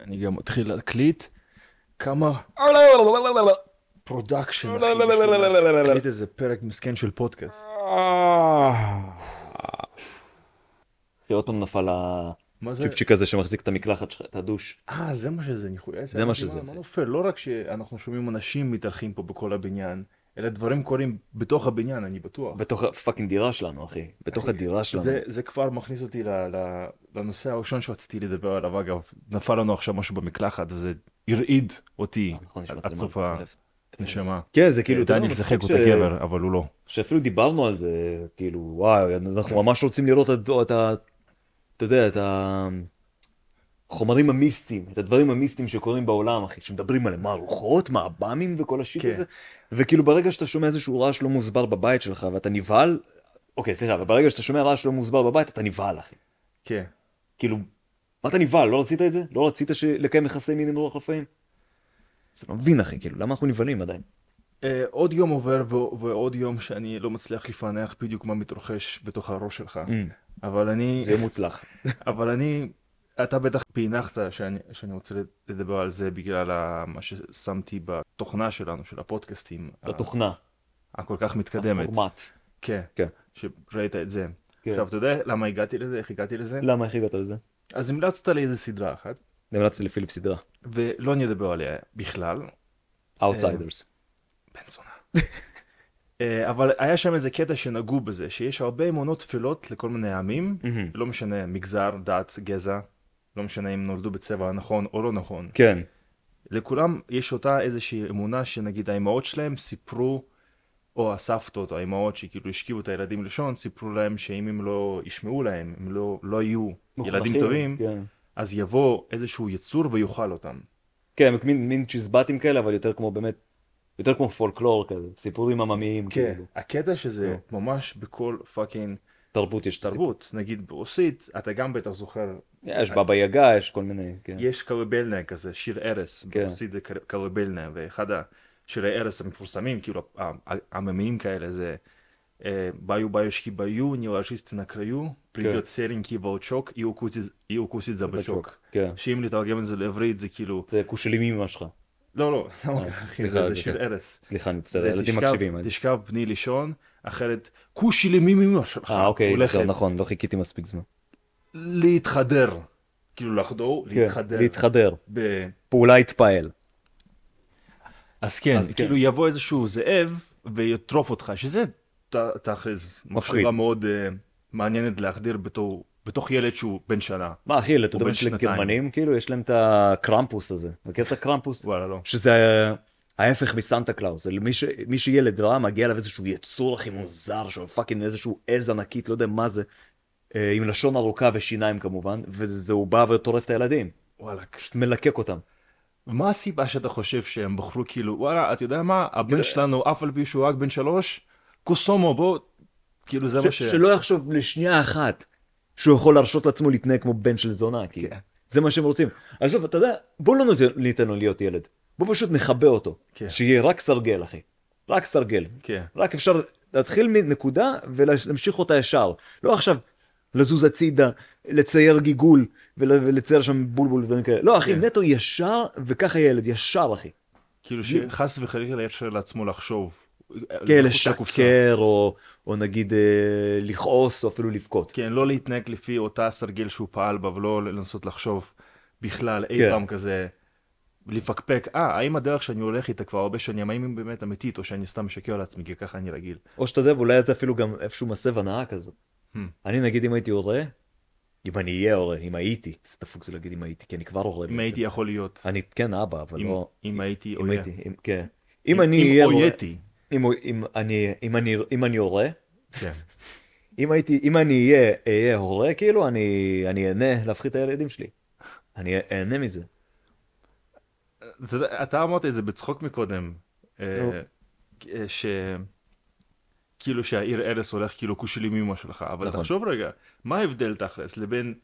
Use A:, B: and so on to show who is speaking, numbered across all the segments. A: אני גם מתחיל להקליט כמה פרודקשן.
B: לא,
A: אחי, בשביל להקליט איזה פרק מסכן של פודקאסט.
B: אחי, עוד פעם נפל
A: מה זה?
B: הצ'יפצ'יק הזה שמחזיק את המקלחת שלך, את הדוש.
A: אה, זה מה שזה, ניחוי.
B: זה מה שזה,
A: מה
B: אחי.
A: נופל? לא רק שאנחנו שומעים אנשים מתהלכים פה בכל הבניין, אלא דברים קורים בתוך הבניין, אני בטוח.
B: בתוך הפאקינג דירה שלנו, אחי. בתוך הדירה שלנו.
A: זה, זה כבר מכניס אותי ל, ל, לנושא הראשון שרציתי לדבר עליו, אגב, נפל לנו עכשיו משהו במקלחת וזה הרעיד אותי
B: אה, נכון, יש
A: עד-
B: מצלמה,
A: עד סוף
B: אני שם לב.
A: הנשמה. אה,
B: כן, זה כאילו, אתה יודע,
A: דני
B: מצחיק
A: שיחק
B: ש-
A: אותה גבר, אבל הוא לא.
B: שאפילו דיברנו על זה, כאילו, וואי, אנחנו ממש רוצים לראות את ה- את ה... אתה יודע, את החומרים המיסטיים, את הדברים המיסטיים שקורים בעולם, אחי, שמדברים עליהם, מה, רוחות, מה, עב"מים וכל השיט
A: כן.
B: הזה, וכאילו ברגע שאתה שומע איזשהו רעש לא מוסבר בבית שלך ואתה נבהל, אוקיי, סליחה, אבל ברגע שאתה שומע רעש לא מוסבר בבית, אתה נבהל, אחי.
A: כן.
B: כאילו, מה אתה נבהל? לא רצית את זה? לא רצית ש- לקיים יחסי מין עם רוח לפעמים? אז אני לא מבין, אחי, כאילו, למה אנחנו נבהלים עדיין?
A: אה, עוד יום עובר ו- ועוד יום שאני לא מצליח לפענח בדיוק מה מתרחש בתוך הראש שלך, אבל אני,
B: Mm. זה יהיה מוצלח.
A: אבל אני, אתה בטח פענחת שאני, שאני רוצה לדבר על זה בגלל ה- מה ששמתי בתוכנה שלנו, של הפודקאסטים, ה-
B: התוכנה,
A: הכל כך מתקדמת.
B: הפורמט.
A: כן,
B: כן.
A: שראית את זה.
B: כן. לא.
A: עכשיו, אתה יודע למה הגעתי לזה, איך הגעתי לזה?
B: למה, איך הגעת לזה?
A: אז המלצת לי איזה סדרה אחת,
B: המלצתי לפיליפ סדרה,
A: ולא נדבר עליה בכלל,
B: Outsiders.
A: בן זונה. אה, אבל היה שם איזה קטע שנגעו בזה, שיש הרבה אמונות טפלות לכל מיני עמים,
B: מהמם.
A: לא משנה מגזר, דת, גזע, לא משנה אם נולדו בצבע הנכון או לא נכון.
B: כן,
A: לכולם יש אותה איזושהי אמונה שנגיד האימהות שלהם סיפרו, או הסבתות, או האימהות שכאילו השכיבו את הילדים לישון, סיפרו להם שאם הם לא ישמעו להם, הם לא, לא יהיו ילדים
B: מוכרחים,
A: טובים,
B: כן.
A: אז יבוא איזשהו יצור ויאכל אותם.
B: כן, הם מין מין צ'יזבטים כאלה, אבל יותר כמו באמת, יותר כמו פולקלור כזה, סיפורים עממיים,
A: כן,
B: כאילו.
A: הקטע שזה ממש בכל פאקינג
B: תרבות יש סיפור.
A: תרבות, נגיד ברוסית, אתה גם בטח זוכר,
B: יש בבא יגה, יש כל מיני, כן.
A: יש קלובלנה כזה, שיר ארס,
B: כן.
A: ברוסית זה קל- קלובלנה, ואחד השירי ארס המפורסמים, כאילו ה- ה- העממיים כאלה, זה אה, ביו ביושקי ביו, נילאז'יסטי נקריו, פרידיות סרינקי ולצ'וק, אי אוקוסית זבצ'וק.
B: כן.
A: שאם לתרגם את זה לעברית זה כאילו,
B: זה כושלים ממש שלך.
A: לא לא,
B: אה,
A: אחי,
B: סליחה,
A: זה זה
B: זה
A: שיר
B: כן.
A: ארס.
B: סליחה, אני מצטער,
A: זה
B: ילדים
A: תשכב-
B: מקשיבים. אני-
A: תשכב בני לישון, אחרת כושי למי ממה שלך,
B: אה, אוקיי,
A: הולכת
B: זהו, נכון, לא חיכיתי מספיק זמן.
A: להתחדר, כאילו לחדור,
B: כן,
A: להתחדר.
B: להתחדר.
A: ב-
B: פעולה התפעל.
A: אז כן,
B: אז כן.
A: כאילו יבוא איזשהו זאב ויטרוף אותך, שזה ת- תכל'ס מחשבה מאוד אה, מעניינת להחדיר בתור- בתוך ילד שהוא בן שנה.
B: מה, אחי, אלה, אתה
A: הוא
B: יודע
A: בן
B: מה של
A: שנתיים.
B: גרמנים, כאילו, יש להם את הקרמפוס הזה. מכיר את הקרמפוס?
A: וואלה, לא.
B: שזה ה- ההפך מסנטה קלאוס, זה למי ש... מי שילד רע מגיע אליו איזשהו יצור הכי מוזר, שהוא פאקינג איזשהו עז ענקית, לא יודע מה זה, אה, עם לשון ארוכה ושיניים כמובן, וזה הוא בא וטורף את הילדים,
A: וואלה.
B: פשוט מלקק אותם.
A: מה הסיבה שאתה חושב שהם בחרו כאילו, וואלה, אתה יודע מה, הבן שלנו, אף על פי שהוא רק בן שלוש, קוסומו, בוא, כאילו זה מה
B: ש...
A: ש...
B: שלא יחשוב לשנייה אחת שהוא יכול להרשות לעצמו להתנהג כמו בן של זונה, כי
A: כן.
B: זה מה שהם רוצים. עזוב, אתה יודע, בוא לא ניתן- ניתן לו להיות ילד, בוא פשוט נכבה אותו,
A: כן.
B: שיהיה רק סרגל, אחי, רק סרגל.
A: כן.
B: רק אפשר להתחיל מנקודה ולהמשיך אותה ישר. לא עכשיו לזוז הצידה, לצייר גיגול ול- ולצייר שם בולבול ודברים כאלה. לא, אחי,
A: כן.
B: נטו ישר, וככה ילד, ישר, אחי.
A: כאילו שחס וחלילה יאפשר לעצמו לחשוב.
B: כן,
A: מחוץ לקופסה.
B: לשקר, או, או נגיד אה, לכעוס, או אפילו לבכות.
A: כן, לא להתנהג לפי אותה סרגל שהוא פעל בה, ולא לנסות לחשוב בכלל אי
B: כן.
A: פעם כזה, לפקפק, אה, האם הדרך שאני הולך איתה כבר הרבה שנים, האם היא באמת אמיתית, או שאני סתם משקר לעצמי, כי ככה אני רגיל.
B: או שאתה יודע, ואולי זה אפילו גם איפשהו מסב הנאה כזו.
A: Hmm.
B: אני נגיד, אם הייתי הורה, אם אני אהיה הורה, אם הייתי, זה דפוק זה להגיד אם הייתי, כי אני כבר הורה.
A: אם
B: בעצם.
A: הייתי יכול להיות,
B: אני כן אבא, אבל
A: אם-
B: לא...
A: אם הייתי
B: אם
A: אויה.
B: הייתי, אם- כן. אם אני אהיה
A: אם
B: הורה...
A: אויתי.
B: אם, הוא- אם, אני, אם, אני, אם אני הורה,
A: כן.
B: אם, הייתי, אם אני אהיה, אהיה הורה, כאילו, אני, אני אהנה להפחית את הילדים שלי. אני אהנה מזה.
A: זה- אתה אמרת את זה בצחוק מקודם, אה,
B: נו.
A: אה, ש... כאילו שהעיר ארס הולך כאילו כושל עם אמא שלך, אבל
B: נכון.
A: תחשוב רגע, מה ההבדל תכלס לבין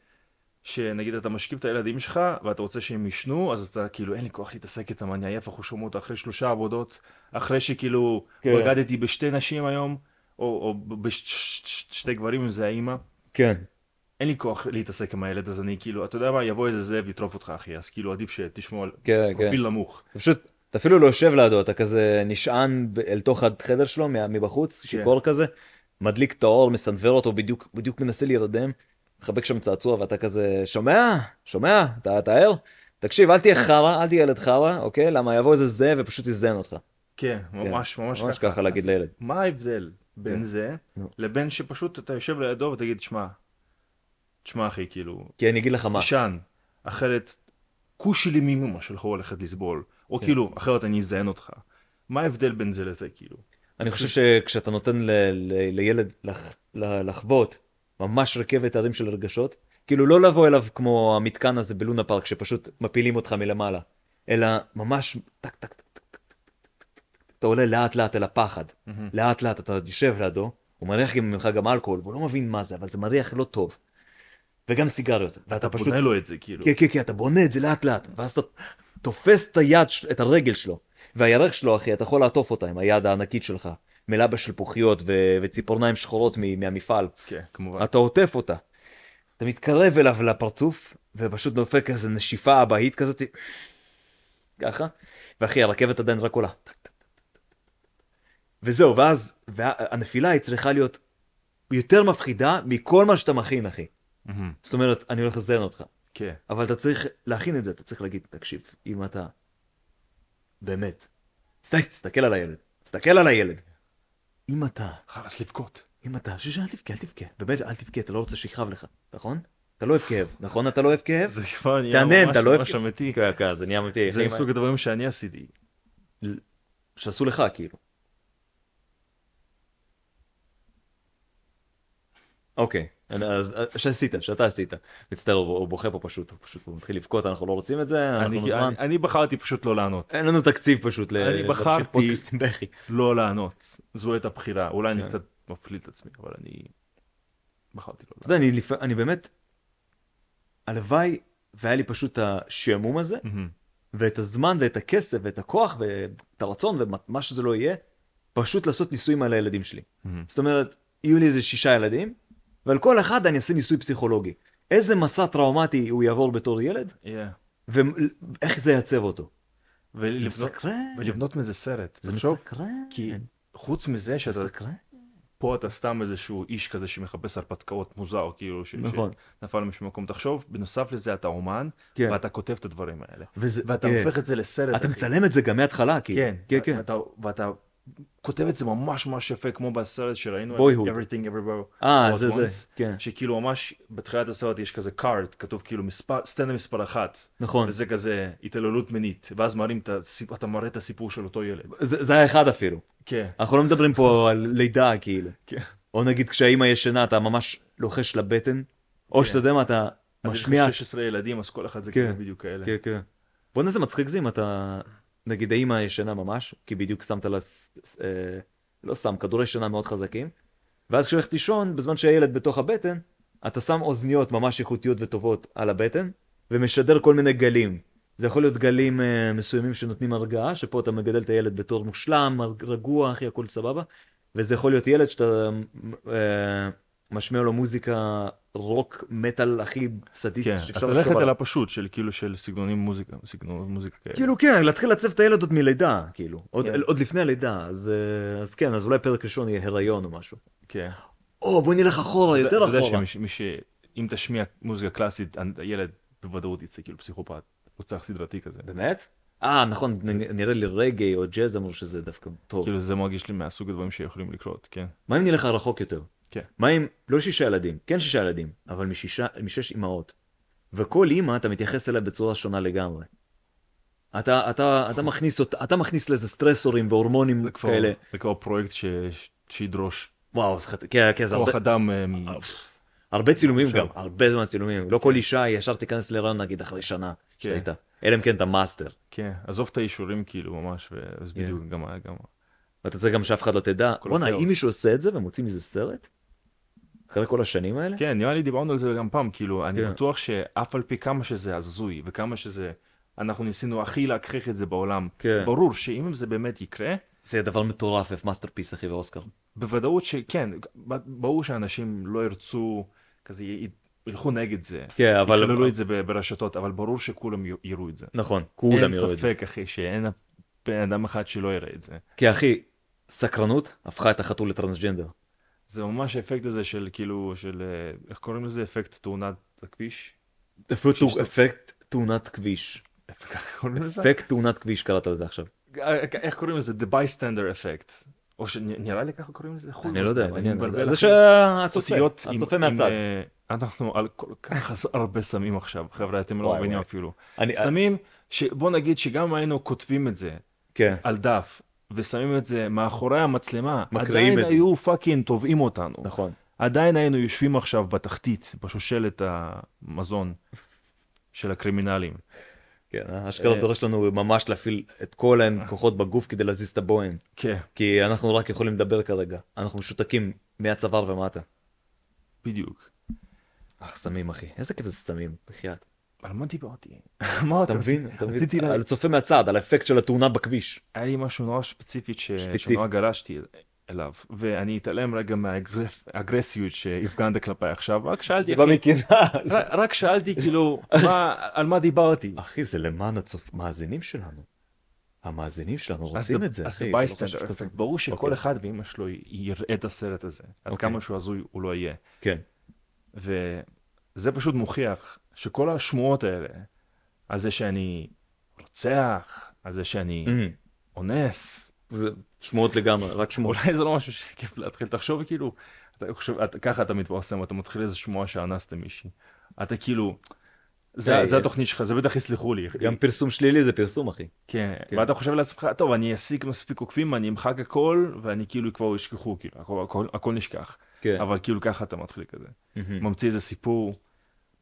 A: שנגיד אתה משכיב את הילדים שלך ואתה רוצה שהם ישנו, אז אתה כאילו אין לי כוח להתעסק איתם, אני עייף, אנחנו שומעים אותו אחרי שלושה עבודות, אחרי שכאילו
B: כן.
A: בגדתי בשתי נשים היום, או, או בשתי גברים אם זה האימא,
B: כן.
A: אין לי כוח להתעסק עם הילד, אז אני כאילו, אתה יודע מה, יבוא איזה זאב יטרוף אותך אחי, אז כאילו עדיף שתשמור על
B: כן, כן.
A: פרופיל נמוך.
B: אתה פשוט, אתה אפילו לא יושב לידו, אתה כזה נשען ב- אל תוך החדר שלו מה-
A: כן.
B: מבחוץ, שיכור כזה, מדליק את האור, מסנוור אותו, בדיוק, בדיוק מנסה להירדם, מחבק שם צעצוע ואתה כזה, שומע? שומע? אתה, אתה ער? תקשיב, אל תהיה חרא, אל תהיה ילד חרא, אוקיי? למה יבוא איזה זאב ופשוט יזיין אותך.
A: כן, ממש ממש
B: ממש
A: ככה.
B: ככה להגיד לילד. כן.
A: מה ההבדל בין זה
B: נו.
A: לבין שפשוט אתה יושב לידו ותגיד, שמע, תשמע אחי, כאילו,
B: כי אני אגיד לך מה,
A: תישן, אחרת כושי לי מימומה שלך הולכת לסבול, או
B: כן.
A: כאילו, אחרת אני אזיין אותך. מה ההבדל בין זה לזה, כאילו?
B: אני חושב שכשאתה נותן ל- ל- לילד לח- ל- לחוות ממש רכבת הרים של רגשות, כאילו לא לבוא אליו כמו המתקן הזה בלונה פארק שפשוט מפילים אותך מלמעלה, אלא ממש טק טק טק טק טק, טק, טק, טק, אתה עולה לאט לאט אל הפחד, לאט לאט אתה יושב לידו, הוא מריח גם ממך גם אלכוהול, והוא לא מבין מה זה, אבל זה מריח לא טוב. וגם סיגריות, ואתה
A: אתה
B: פשוט...
A: בונה לו את זה, כאילו.
B: כן, כן, כן, אתה בונה את זה לאט לאט, ואז אתה תופס את היד, של- את הרגל שלו, והירך שלו, אחי, אתה יכול לעטוף אותה עם היד הענקית שלך, מלאה בשלפוחיות ו- וציפורניים שחורות מ- מהמפעל.
A: כן, כמובן.
B: אתה עוטף אותה. אתה מתקרב אליו לפרצוף, ופשוט נופק כזה נשיפה אבהית כזאת, ככה, ואחי, הרכבת עדיין רק עולה. טק, טק, טק, טק, טק, טק. וזהו, ואז, והנפילה היא צריכה להיות יותר מפחידה מכל מה שאתה מכין, אחי.
A: מהמם,
B: זאת אומרת, אני הולך לזיין אותך.
A: כן,
B: אבל אתה צריך להכין את זה, אתה צריך להגיד, תקשיב, אם אתה... באמת. סת- תסתכל על הילד, תסתכל על הילד. אם אתה,
A: חלאס לבכות.
B: אם אתה, שש, אל תבכה, אל תבכה. באמת, אל תבכה, אתה לא רוצה שיכאב לך, נכון? אתה לא אוהב כאב, נכון? אתה לא אוהב כאב?
A: זה כבר נהיה
B: תענן, אתה לא
A: ממש
B: אוהב-
A: ממש אמיתי.
B: כן, כן, זה נהיה אמיתי.
A: זה מסוג הדברים שאני עשיתי.
B: שעשו לך, כאילו. אוקיי, אני- אז אה, שעשית, שאתה עשית. מצטער, הוא הוא בוכה פה פשוט, הוא פשוט הוא מתחיל לבכות, אנחנו לא רוצים את זה, אנחנו
A: אני-
B: זמן.
A: אני- אני בחרתי פשוט לא לענות.
B: אין לנו תקציב פשוט ל...
A: אני
B: להמשיך
A: בחרתי-
B: פודקאסטים בכי.
A: לא לענות, זו הייתה בחירה, אולי אני
B: כן.
A: קצת מפליל את עצמי, אבל אני בחרתי לא
B: אתה יודע, אני, לפ... אני באמת, הלוואי והיה לי פשוט השעמום הזה,
A: לענות.
B: ואת הזמן ואת הכסף ואת הכוח ואת הרצון ומה שזה לא יהיה, פשוט לעשות ניסויים על הילדים שלי.
A: מהמם.
B: זאת אומרת, יהיו לי איזה שישה ילדים, ועל כל אחד אני אעשה ניסוי פסיכולוגי. איזה מסע טראומטי הוא יעבור בתור ילד,
A: Yeah.
B: ואיך זה יעצב אותו. זה
A: ולבנות,
B: מסקרן,
A: ולבנות מזה סרט,
B: זה
A: תחשוב,
B: מסקרן,
A: כי חוץ מזה
B: זה
A: שאתה
B: מסקרן.
A: פה אתה סתם איזשהו איש כזה שמחפש הרפתקאות מוזר, כאילו, ש-
B: נכון.
A: שנפל משום מקום, תחשוב, בנוסף לזה אתה אומן,
B: כן.
A: ואתה כותב את הדברים האלה,
B: וזה-
A: ואתה
B: כן.
A: הופך את זה לסרט,
B: אתה
A: אחי.
B: מצלם את זה גם מההתחלה, כאילו.
A: כן,
B: כן, כן.
A: ואתה- ואתה כותב את זה ממש ממש יפה, כמו בסרט שראינו,
B: Boyhood.
A: Everything Everywhere,
B: אה,
A: All at
B: זה זה,
A: Once.
B: כן.
A: שכאילו ממש בתחילת הסרט יש כזה קארט, כתוב כאילו מספר, סצנה מספר אחת,
B: נכון.
A: וזה כזה התעללות מינית, ואז מראים את הסיפור, אתה מראה את הסיפור של אותו ילד.
B: זה זה היה אחד אפילו.
A: כן,
B: אנחנו לא מדברים פה על לידה, כאילו.
A: כן.
B: או נגיד כשהאימא ישנה, אתה ממש לוחש לבטן, או
A: כן.
B: שאתה יודע מה, אתה
A: אז יש לך
B: משמיע...
A: 16 ילדים, אז כל אחד זה
B: כן.
A: כזה בדיוק כאלה.
B: כן, כן. בוא'נה, זה מצחיק זה אם אתה... נגיד האימא ישנה ממש, כי בדיוק שמת לה... ס- ס- אה, לא שם, כדורי שינה מאוד חזקים, ואז כשהיא הולכת לישון, בזמן שהילד בתוך הבטן, אתה שם אוזניות ממש איכותיות וטובות על הבטן, ומשדר כל מיני גלים. זה יכול להיות גלים אה, מסוימים שנותנים הרגעה, שפה אתה מגדל את הילד בתור מושלם, הר- רגוע, אחי, הכל סבבה. וזה יכול להיות ילד שאתה אה, משמיע לו מוזיקה רוק, מטאל הכי סדיסטי
A: כן, אז ללכת על הפשוט של כאילו של סגנונים מוזיקה, סגנון מוזיקה כאלה.
B: כאילו כן, להתחיל לעצב את הילד עוד מלידה, כאילו, עוד,
A: כן.
B: עוד לפני הלידה, אז, אה, אז כן, אז אולי פרק ראשון יהיה הריון או משהו.
A: כן.
B: או, בוא נלך אחורה,
A: אתה-
B: יותר
A: אתה יודע
B: אחורה.
A: שמי ש- מי ש... אם תשמיע מוזיקה קלאסית, הילד בוודאות יצא כאילו פסיכופת, רוצח סדרתי כזה.
B: באמת? אה, נכון, נ- נ- נראה לי רגעי או ג'אז אמרו שזה דווקא טוב.
A: כאילו זה מרגיש לי מהסוג הדברים שיכולים לקרות, כן.
B: מה אם נלך רחוק יותר?
A: כן.
B: מה אם, לא שישה ילדים, כן שישה ילדים, אבל משישה, משש אימהות. וכל אימא, אתה מתייחס אליה בצורה שונה לגמרי. אתה, אתה, אתה מכניס אותה, אתה מכניס לזה סטרסורים והורמונים
A: זה כבר-
B: כאלה.
A: זה כבר פרויקט ש- ש- שידרוש
B: וואו, זה חת- כן, כן, זה הרבה...
A: כוח אדם אה, מ-
B: הרבה צילומים
A: עכשיו.
B: גם, הרבה זמן צילומים. לא כל אישה ישר תיכנס להיריון נגיד אחרי שנה שהייתה. אלא אם כן אתה מאסטר.
A: כן, עזוב את האישורים כאילו ממש, וזה
B: כן.
A: בדיוק גם היה גם...
B: ואתה צריך גם שאף אחד לא תדע.
A: כל
B: בואנה,
A: הכאוס.
B: אם מישהו עושה את זה ומוציא מזה סרט? אחרי כל השנים האלה?
A: כן, נראה לי דיברנו על זה גם פעם, כאילו, אני
B: כן.
A: בטוח שאף על פי כמה שזה הזוי, וכמה שזה... אנחנו ניסינו הכי להגחיך את זה בעולם.
B: כן.
A: ברור שאם זה באמת יקרה,
B: זה יהיה דבר מטורף, איפה מאסטרפיס אחי ואוסקר.
A: בוודאות שכן, ב- ברור שאנשים לא ירצו, כזה י- ילכו נגד זה.
B: כן, אבל...
A: יקללו את זה ב- ברשתות, אבל ברור שכולם י- יראו את זה.
B: נכון, כולם יראו
A: אין
B: את זה.
A: ספק, אחי, שאין בן אדם אחד שלא יראה את זה.
B: כי אחי, סקרנות הפכה את החתול לטרנסג'נדר.
A: זה ממש האפקט הזה של כאילו, של אה, איך קוראים לזה? אפקט תאונת הכביש?
B: אפילו
A: שיש לו-
B: אפקט תאונת כביש.
A: אפקט- איך קוראים לזה?
B: אפקט תאונת כביש קראת לזה עכשיו.
A: אה, איך קוראים לזה? The bystander effect. או שנראה לי ככה קוראים לזה?
B: אני לא יודע,
A: חוץ,
B: מעניין.
A: מבלבל,
B: זה-
A: אחי.
B: זה שהצופה,
A: אותיות עם-
B: הצופה
A: עם,
B: מהצד.
A: אה, אנחנו על כל כך הרבה סמים עכשיו, חבר'ה, אתם לא
B: וואי,
A: מבינים
B: וואי.
A: אפילו.
B: אני-
A: סמים, שבוא נגיד שגם היינו כותבים את זה
B: כן.
A: על דף, ושמים את זה מאחורי המצלמה,
B: מקריאים
A: עדיין
B: את זה.
A: היו פאקינג תובעים אותנו.
B: נכון.
A: עדיין היינו יושבים עכשיו בתחתית, בשושלת המזון של הקרימינלים.
B: כן,
A: אה,
B: אשכרה דורש לנו ממש להפעיל את כל הכוחות בגוף כדי להזיז את הבוהן.
A: כן,
B: כי אנחנו רק יכולים לדבר כרגע. אנחנו משותקים מהצוואר ומטה.
A: בדיוק.
B: אך סמים אחי, איזה כיף זה סמים, בחייאת.
A: על מה דיברתי? מה
B: אתה מבין? אתה מבין?
A: רציתי לה-
B: על צופה מהצד, על האפקט של התאונה בכביש.
A: היה לי משהו נורא ספציפי ש...
B: ספציפי.
A: שנורא גלשתי אליו, ואני אתעלם רגע מהאגרסיות שהפגנת כלפיי עכשיו, רק שאלתי,
B: זה
A: אחי,
B: במקנאה. זה-
A: רק, רק שאלתי כאילו, מה, על מה דיברתי?
B: אחי, זה למען המאזינים שלנו. המאזינים שלנו
A: אז
B: רוצים
A: the-
B: את זה,
A: אז
B: אחי.
A: the
B: אתה לא
A: bystander
B: חושב שאתה
A: effect.
B: צריך-
A: ברור שכל
B: אוקיי.
A: אחד ואימא שלו י- יראה את הסרט הזה, עד
B: אוקיי.
A: כמה שהוא הזוי הוא לא יהיה.
B: כן,
A: וזה פשוט מוכיח שכל השמועות האלה, על זה שאני רוצח, על זה שאני
B: אמ,
A: אונס,
B: זה שמועות לגמרי, רק שמועות.
A: אולי זה לא משהו שכיף להתחיל, תחשוב כאילו, אתה חושב, אתה, ככה אתה מתפרסם, אתה מתחיל איזה שמועה שאנסת מישהי, אתה כאילו, זה,
B: היי,
A: זה
B: אה,
A: התוכנית שלך, זה בטח יסלחו לי,
B: גם פרסום שלילי זה פרסום, אחי.
A: כן,
B: כן.
A: ואתה חושב לעצמך, טוב, אני אשיג מספיק עוקבים, אני אמחק הכל, ואני כאילו כבר ישכחו, כאילו, הכל, הכל, הכל נשכח,
B: כן.
A: אבל כאילו ככה אתה מתחיל כזה,
B: אמ.
A: ממציא איזה סיפור,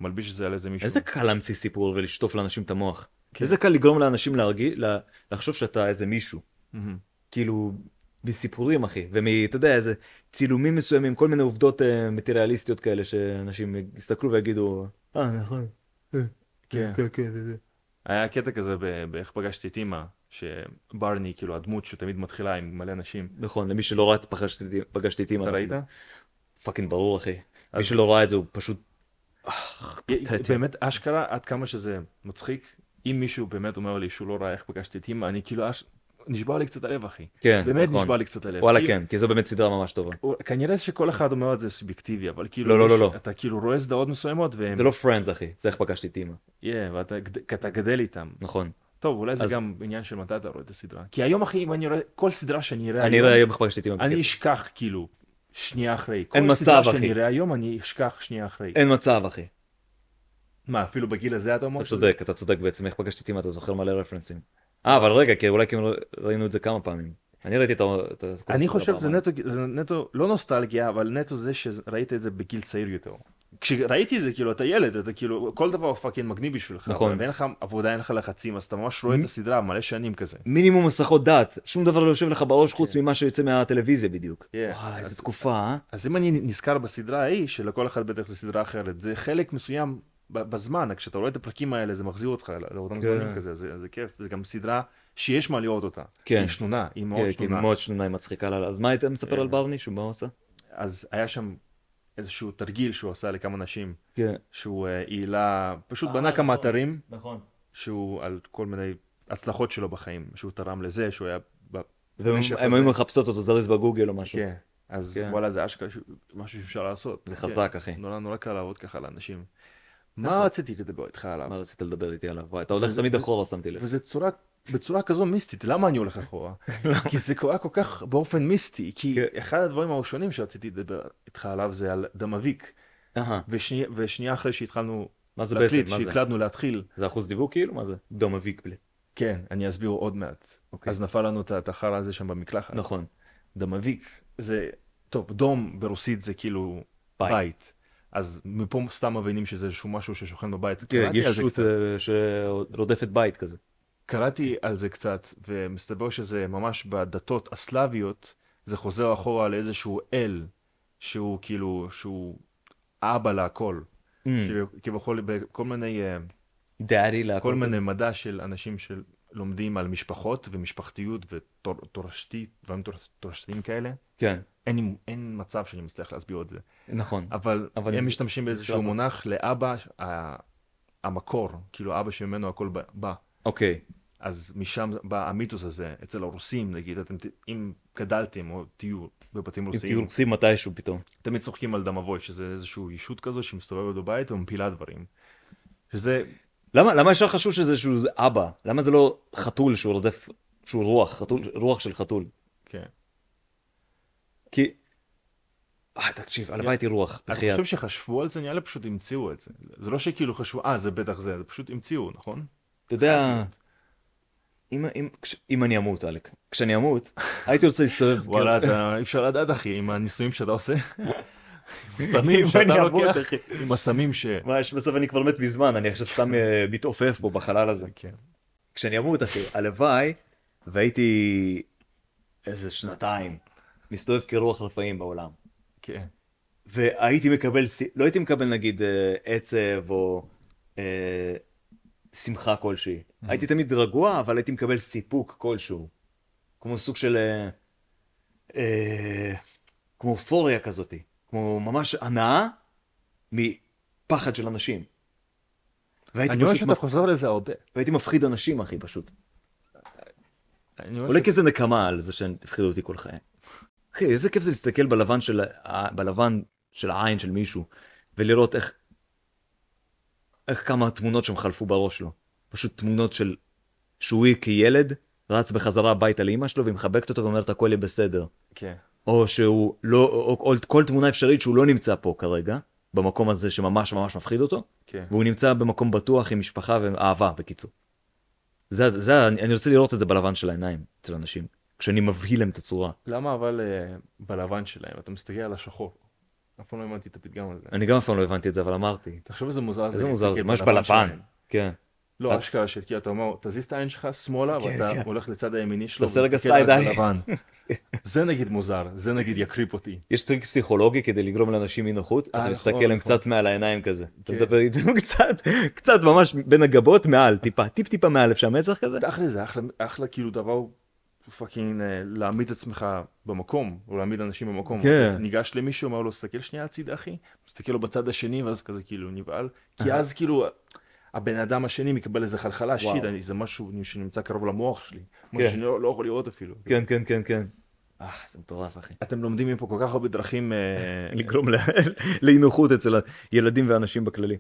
A: מלביש את זה על איזה מישהו.
B: איזה קל להמציא סיפור ולשטוף לאנשים את המוח.
A: כן.
B: איזה קל לגרום לאנשים להרגיל, לה- לחשוב שאתה איזה מישהו.
A: מהמם.
B: כאילו, מסיפורים, אחי, ומ... אתה יודע, איזה צילומים מסוימים, כל מיני עובדות אה, מטריאליסטיות כאלה, שאנשים יסתכלו ויגידו, אה, נכון. אה,
A: כן.
B: כן, כן, זה, זה."
A: היה קטע כזה ב- באיך פגשתי את אימא, שברני, כאילו הדמות שתמיד מתחילה עם מלא נשים.
B: נכון, למי שלא ראה את פגשתי את אימא- פגשתי את אימא.
A: אתה ראית?
B: פאקינג ברור, אחי. מי
A: אז-
B: שלא ראה את זה הוא פשוט... אה, פתטי.
A: באמת אשכרה, עד כמה שזה מצחיק, אם מישהו באמת אומר לי שהוא לא ראה איך פגשתי את אימא, אני כאילו אש... נשבר לי קצת הלב, אחי.
B: כן,
A: באמת
B: נכון.
A: נשבר לי קצת הלב. כאילו,
B: וואלה
A: כי-
B: כן, כי זו באמת סדרה ממש טובה.
A: הוא- כנראה שכל אחד אומר את זה סובייקטיבי, אבל כאילו...
B: לא, לא, לא,
A: יש-
B: לא.
A: אתה כאילו רואה סדרות מסוימות, והם...
B: זה לא פרנדס, אחי, זה איך פגשתי את אימא.
A: Yeah, ואתה גד- כי אתה גדל איתם.
B: נכון.
A: טוב, אולי זה
B: אז-
A: גם עניין של מתי אתה רואה את הסדרה. כי היום, אחי, אם אני רואה... כל סדרה שאני אראה...
B: אני
A: היום-
B: אראה היום איך פגשתי את אימא.
A: אני
B: בקטע.
A: אשכח כאילו שנייה אחרי.
B: אין
A: כל סדרה
B: מצב,
A: שאני
B: אחי.
A: אראה היום אני אשכח שנייה אחרי.
B: אין מצב, אחי.
A: מה, אפילו בגיל הזה אתה אומר?
B: אתה
A: שזה-
B: צודק, אתה צודק בעצם, איך פגשתי את אימא, אתה זוכר מלא רפרנסים. אה, אבל רגע, כי אולי כי ראינו את זה כמה פעמים. אני ראיתי את ה... את ה- כל
A: אני
B: הסדרה
A: חושב שזה
B: פעמיים.
A: נטו, זה נטו, לא נוסטלגיה, אבל נטו זה שראית את זה בגיל צעיר יותר. כשראיתי את זה, כאילו, אתה ילד, אתה כאילו, כל דבר הוא פאקינג מגניב בשבילך.
B: נכון.
A: אבל אין לך עבודה, אין לך לחצים, אז אתה ממש רואה
B: מ-
A: את הסדרה מלא שנים כזה.
B: מינימום הסחות דעת, שום דבר לא יושב לך בראש חוץ ממה שיוצא מהטלוויזיה בדיוק.
A: כן.
B: וואי,
A: אז-
B: איזה תקופה, אה?
A: אז אם אני נזכר בסדרה ההיא, שלכל אחד בטח זו סדרה אחרת, זה חלק מסוים ב- בזמן, כשאתה רואה את הפרקים האלה, זה מחזיר אותך לא- לאותם
B: כן.
A: זמנים כזה, זה זה כיף, זה גם סדרה שיש מה לראות אותה.
B: כן.
A: היא שנונה, היא מאוד
B: כן, כן,
A: שנונה.
B: מאוד שנונה, היא מצחיקה לה. אז מה היית מספר
A: כן.
B: על ברני, שהוא מה הוא עשה?
A: אז היה שם איזשהו תרגיל שהוא עשה לכמה נשים,
B: כן.
A: שהוא אה, העלה, פשוט
B: אה,
A: בנה כמה
B: נכון.
A: אתרים,
B: נכון.
A: שהוא על כל מיני הצלחות שלו בחיים, שהוא תרם לזה, שהוא היה... ב- בנשף
B: והם
A: הזה.
B: היו מחפשות אותו זריז בגוגל או משהו.
A: כן. אז
B: כן.
A: וואלה, זה אשכרה ש- משהו שאפשר לעשות.
B: זה
A: כן.
B: חזק, אחי.
A: נורא נורא קל לעבוד ככה לאנשים.
B: נכון.
A: מה רציתי לדבר איתך עליו?
B: מה רצית לדבר איתי עליו? וואי, אתה הולך תמיד אחורה, שמתי לב.
A: וזה צורה, בצורה כזו מיסטית, למה אני הולך אחורה? כי זה קורה כל כך באופן מיסטי, כי
B: כן.
A: אחד הדברים הראשונים שרציתי לדבר איתך עליו זה על דמאביק,
B: אהה,
A: ושני, ושנייה אחרי שהתחלנו
B: מה זה
A: להקליט,
B: בעצם? מה זה?
A: שהקלטנו להתחיל,
B: זה אחוז דיבור כאילו? מה זה? דום אביק בלי.
A: כן, אני אסביר עוד מעט.
B: אוקיי.
A: אז נפל לנו את את החרא הזה שם במקלחת.
B: נכון.
A: דמאביק זה, טוב, דום ברוסית זה כאילו
B: בית.
A: בית. אז מפה סתם מבינים שזה איזשהו משהו ששוכן בבית.
B: כן,
A: קראתי על זה
B: ישות
A: קצת.
B: אה, שרודפת בית כזה.
A: קראתי על זה קצת, ומסתבר שזה ממש בדתות הסלאביות, זה חוזר אחורה לאיזשהו אל, שהוא כאילו, שהוא אבא להכל.
B: Mm.
A: כאילו, כביכול, בכל מיני, אה,
B: דאדי Mm. להכל.
A: כל מיני מדע של אנשים של, לומדים על משפחות ומשפחתיות ותורשתית, דברים תורש- תורשתיים כאלה,
B: כן,
A: אין, לי- אין מצב שאני מצליח להסביר את זה.
B: נכון.
A: אבל,
B: אבל
A: אבל הם
B: זה- לא-
A: משתמשים
B: סלח
A: באיזשהו
B: לי.
A: מונח לאבא, ה- המקור, כאילו אבא שממנו הכל ב- בא.
B: אוקיי,
A: אז משם בא המיתוס הזה, אצל הרוסים נגיד, אתם, ת- אם גדלתם או תהיו בבתים
B: אם
A: רוסיים,
B: תהיו רוסים כאילו, מתישהו פתאום.
A: תמיד צוחקים על דמבוי, שזה איזושהי ישות כזו שמסתובבת בבית ומפילה דברים. שזה,
B: למה למה ישר חשוב שזה שהוא זה אבא? למה זה לא חתול שהוא רודף, שהוא רוח, חתול, רוח של חתול?
A: כן.
B: כי... אה, תקשיב, הלוואי הייתי רוח,
A: אני
B: בחייאת.
A: חושב שחשבו על זה, נראה לי פשוט המציאו את זה. זה לא שכאילו חשבו, אה, זה בטח זה, זה פשוט המציאו, נכון? כאילו,
B: אתה יודע, אם- אם- כש- אם אני אמות, אלק, כשאני אמות, הייתי רוצה להסתובב. כאילו-
A: וואלה, אתה- אי אפשר לדעת, אחי, עם הניסויים שאתה עושה. עם
B: אם
A: הסמים
B: אני
A: שאתה
B: אמות,
A: לוקח,
B: אחי.
A: עם הסמים ש...
B: מה, יש מצב אני כבר מת מזמן, אני עכשיו סתם אה, מתעופף פה בחלל הזה.
A: כן.
B: כשאני אמות, אחי, הלוואי, והייתי איזה שנתיים, מסתובב כרוח רפאים בעולם.
A: כן.
B: והייתי מקבל, ס- לא הייתי מקבל נגיד אה, עצב או אה, שמחה כלשהי.
A: Mm-hmm.
B: הייתי תמיד רגוע, אבל הייתי מקבל סיפוק כלשהו. כמו סוג של... אה, אה, כמו אופוריה כזאת. כמו ממש הנאה מפחד של אנשים. והייתי
A: אני רואה
B: פשוט
A: שאתה
B: מפ...
A: חוזר לזה הרבה.
B: והייתי מפחיד אנשים, אחי, פשוט.
A: אני רואה
B: עולה כאיזה נקמה על זה שהם הפחידו אותי כל חיי. אחי, איזה כיף זה להסתכל בלבן של, ה- בלבן של העין של מישהו, ולראות איך, איך כמה תמונות שם חלפו בראש שלו. פשוט תמונות של שהוא כילד רץ בחזרה הביתה לאימא שלו והיא מחבקת אותו ואומרת הכל יהיה בסדר.
A: ש- כן.
B: או שהוא לא, או, או כל תמונה אפשרית שהוא לא נמצא פה כרגע, במקום הזה שממש ממש מפחיד אותו,
A: כן.
B: והוא נמצא במקום בטוח עם משפחה ואהבה בקיצור. זה, זה, אני אני רוצה לראות את זה בלבן של העיניים אצל אנשים, כשאני מבהיל להם את הצורה.
A: למה אבל אה, בלבן שלהם, אתה מסתכל על השחור. אף פעם לא הבנתי את הפתגם הזה.
B: אני גם אף פעם לא הבנתי את זה, אבל אמרתי.
A: תחשוב איזה מוזר זה.
B: איזה מוזר זה,
A: להסתכל
B: ממש
A: שלהם.
B: בלבן. כן.
A: לא,
B: את-
A: אשכרה שכאילו אתה אומר, תזיז את העין שלך שמאלה,
B: כן, כן.
A: ואתה הולך לצד הימיני שלו,
B: תעשה רגע
A: ומסתכל רק
B: side eye.
A: בלבן. זה נגיד מוזר, זה נגיד יקריפ אותי.
B: יש טריק פסיכולוגי כדי לגרום לאנשים אי נוחות, אתה
A: נכון,
B: מסתכל להם
A: נכון.
B: קצת מעל העיניים כזה. אתה
A: כן.
B: מדבר איתם קצת, קצת ממש בין הגבות, מעל, טיפה, טיפ טיפה מעל, אפשר מצח כזה?
A: אחלה זה אחלה, אחלה כאילו דבר הוא פאקינג אה, להעמיד את עצמך במקום, או להעמיד אנשים במקום.
B: כן.
A: אתה ניגש למישהו, אומר לו, תסתכל שנייה הצידה אחי, מסתכל לו בצד השני, ואז כזה כאילו נבהל, כי אז כאילו הבן אדם השני מקבל איזה חלחלה,
B: וואו.
A: שיט, אני- זה משהו שנמצא קרוב למוח שלי, משהו שאני לא לא יכול לראות אפילו.
B: כן, כן, כן, כן. אה, זה מטורף, אחי.
A: אתם לומדים מפה כל כך הרבה דרכים אה,
B: לגרום ל- לאי נוחות אצל הילדים ואנשים בכללי.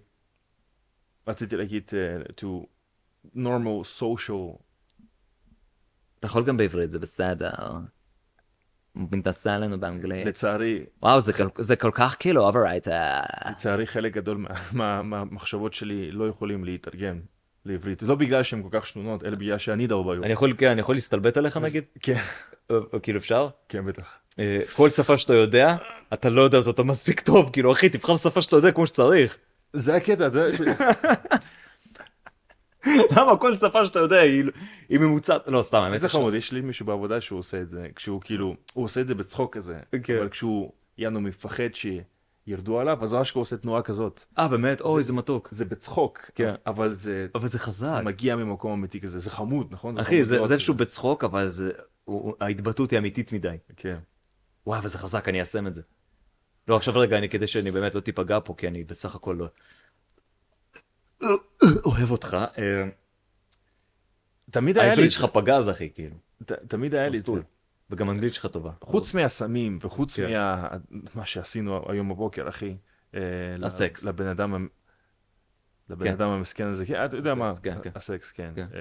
A: רציתי להגיד uh, to normal social,
B: אתה יכול גם בעברית, זה בסדר. מתנסה עלינו באנגלית.
A: לצערי,
B: וואו, זה כל- זה כל כך כאילו אוברייט. אה.
A: לצערי חלק גדול מה- מה- מהמחשבות שלי לא יכולים להתרגם לעברית, לא בגלל שהן כל כך שנונות, אלא בגלל שאני דרבאי.
B: אני יכול, כן, אני יכול להסתלבט עליך נגיד?
A: כן,
B: או- או כאילו אפשר?
A: כן בטח.
B: אה, כל שפה שאתה יודע, אתה לא יודע אותה מספיק טוב, כאילו אחי, תבחר שפה שאתה יודע כמו שצריך.
A: זה הקטע, זה...
B: למה כל שפה שאתה יודע היא- לא- היא ממוצעת? לא, סתם, האמת.
A: איזה
B: יש-
A: חמוד, יש לי מישהו בעבודה שהוא עושה את זה, כשהוא כאילו, הוא עושה את זה בצחוק כזה,
B: כן.
A: אבל כשהוא, יענו, מפחד שירדו עליו, אז ממש הוא עושה תנועה כזאת.
B: אה, באמת? אוי, זה מתוק.
A: זה בצחוק,
B: כן.
A: אבל זה
B: אבל זה
A: זה
B: חזק.
A: מגיע ממקום אמיתי כזה, זה חמוד, נכון?
B: אחי,
A: חמוד
B: זה
A: מאוד.
B: זה איפשהו בצחוק, אבל זה- הוא- הוא- ההתבטאות היא אמיתית מדי.
A: כן.
B: וואי, אבל זה חזק, אני איישם את זה. לא, עכשיו רגע, אני כדי שאני באמת לא תיפגע פה, כי אני בסך הכל לא... אוהב אותך. אה,
A: תמיד היה לי...
B: העברית
A: את זה.
B: שלך פגז, אחי, כאילו.
A: ת, תמיד היה לי את זה.
B: מסטול. וגם האנגלית שלך טובה.
A: חוץ מהסמים וחוץ
B: כן.
A: מה... מה שעשינו היום בבוקר, אחי. אה, ל-
B: הסקס.
A: לבן אדם... המ- לבן
B: כן.
A: אדם המסכן הזה, כן, אתה יודע מה,
B: הסקס, כן, כן.
A: הסקס, כן.
B: כן.
A: אה,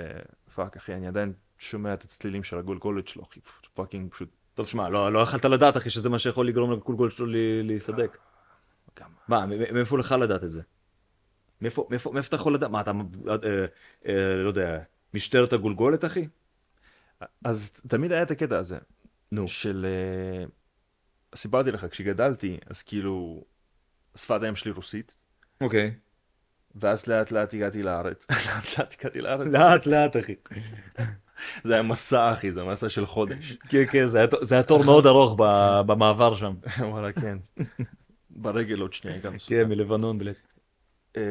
A: פאק, אחי, אני עדיין שומע את הצלילים של הגולגולת שלו, אחי, פאקינג פשוט,
B: טוב, שמע, לא לא יכלת לדעת, אחי, שזה מה שיכול לגרום לגולגול שלו ל- להיסדק.
A: כמה.
B: מה, מ- מאיפה לך לדעת את זה? מאיפה מאיפה- מאיפה אתה יכול לדעת? מה, אתה, אה, אה, לא יודע, משטרת הגולגולת, אחי?
A: אז תמיד היה את הקטע הזה.
B: נו.
A: של... אה, סיפרתי לך, כשגדלתי, אז כאילו, שפת האם שלי רוסית,
B: אוקיי.
A: ואז לאט לאט הגעתי לארץ. לאט לאט הגעתי לארץ.
B: לאט לאט, אחי.
A: זה היה מסע, אחי, זה מסע של חודש.
B: כן, כן, זה היה- זה היה תור מאוד ארוך ב- במעבר שם.
A: וואלה, כן. ברגל עוד שנייה גם.
B: כן, מלבנון, בלט.
A: אה,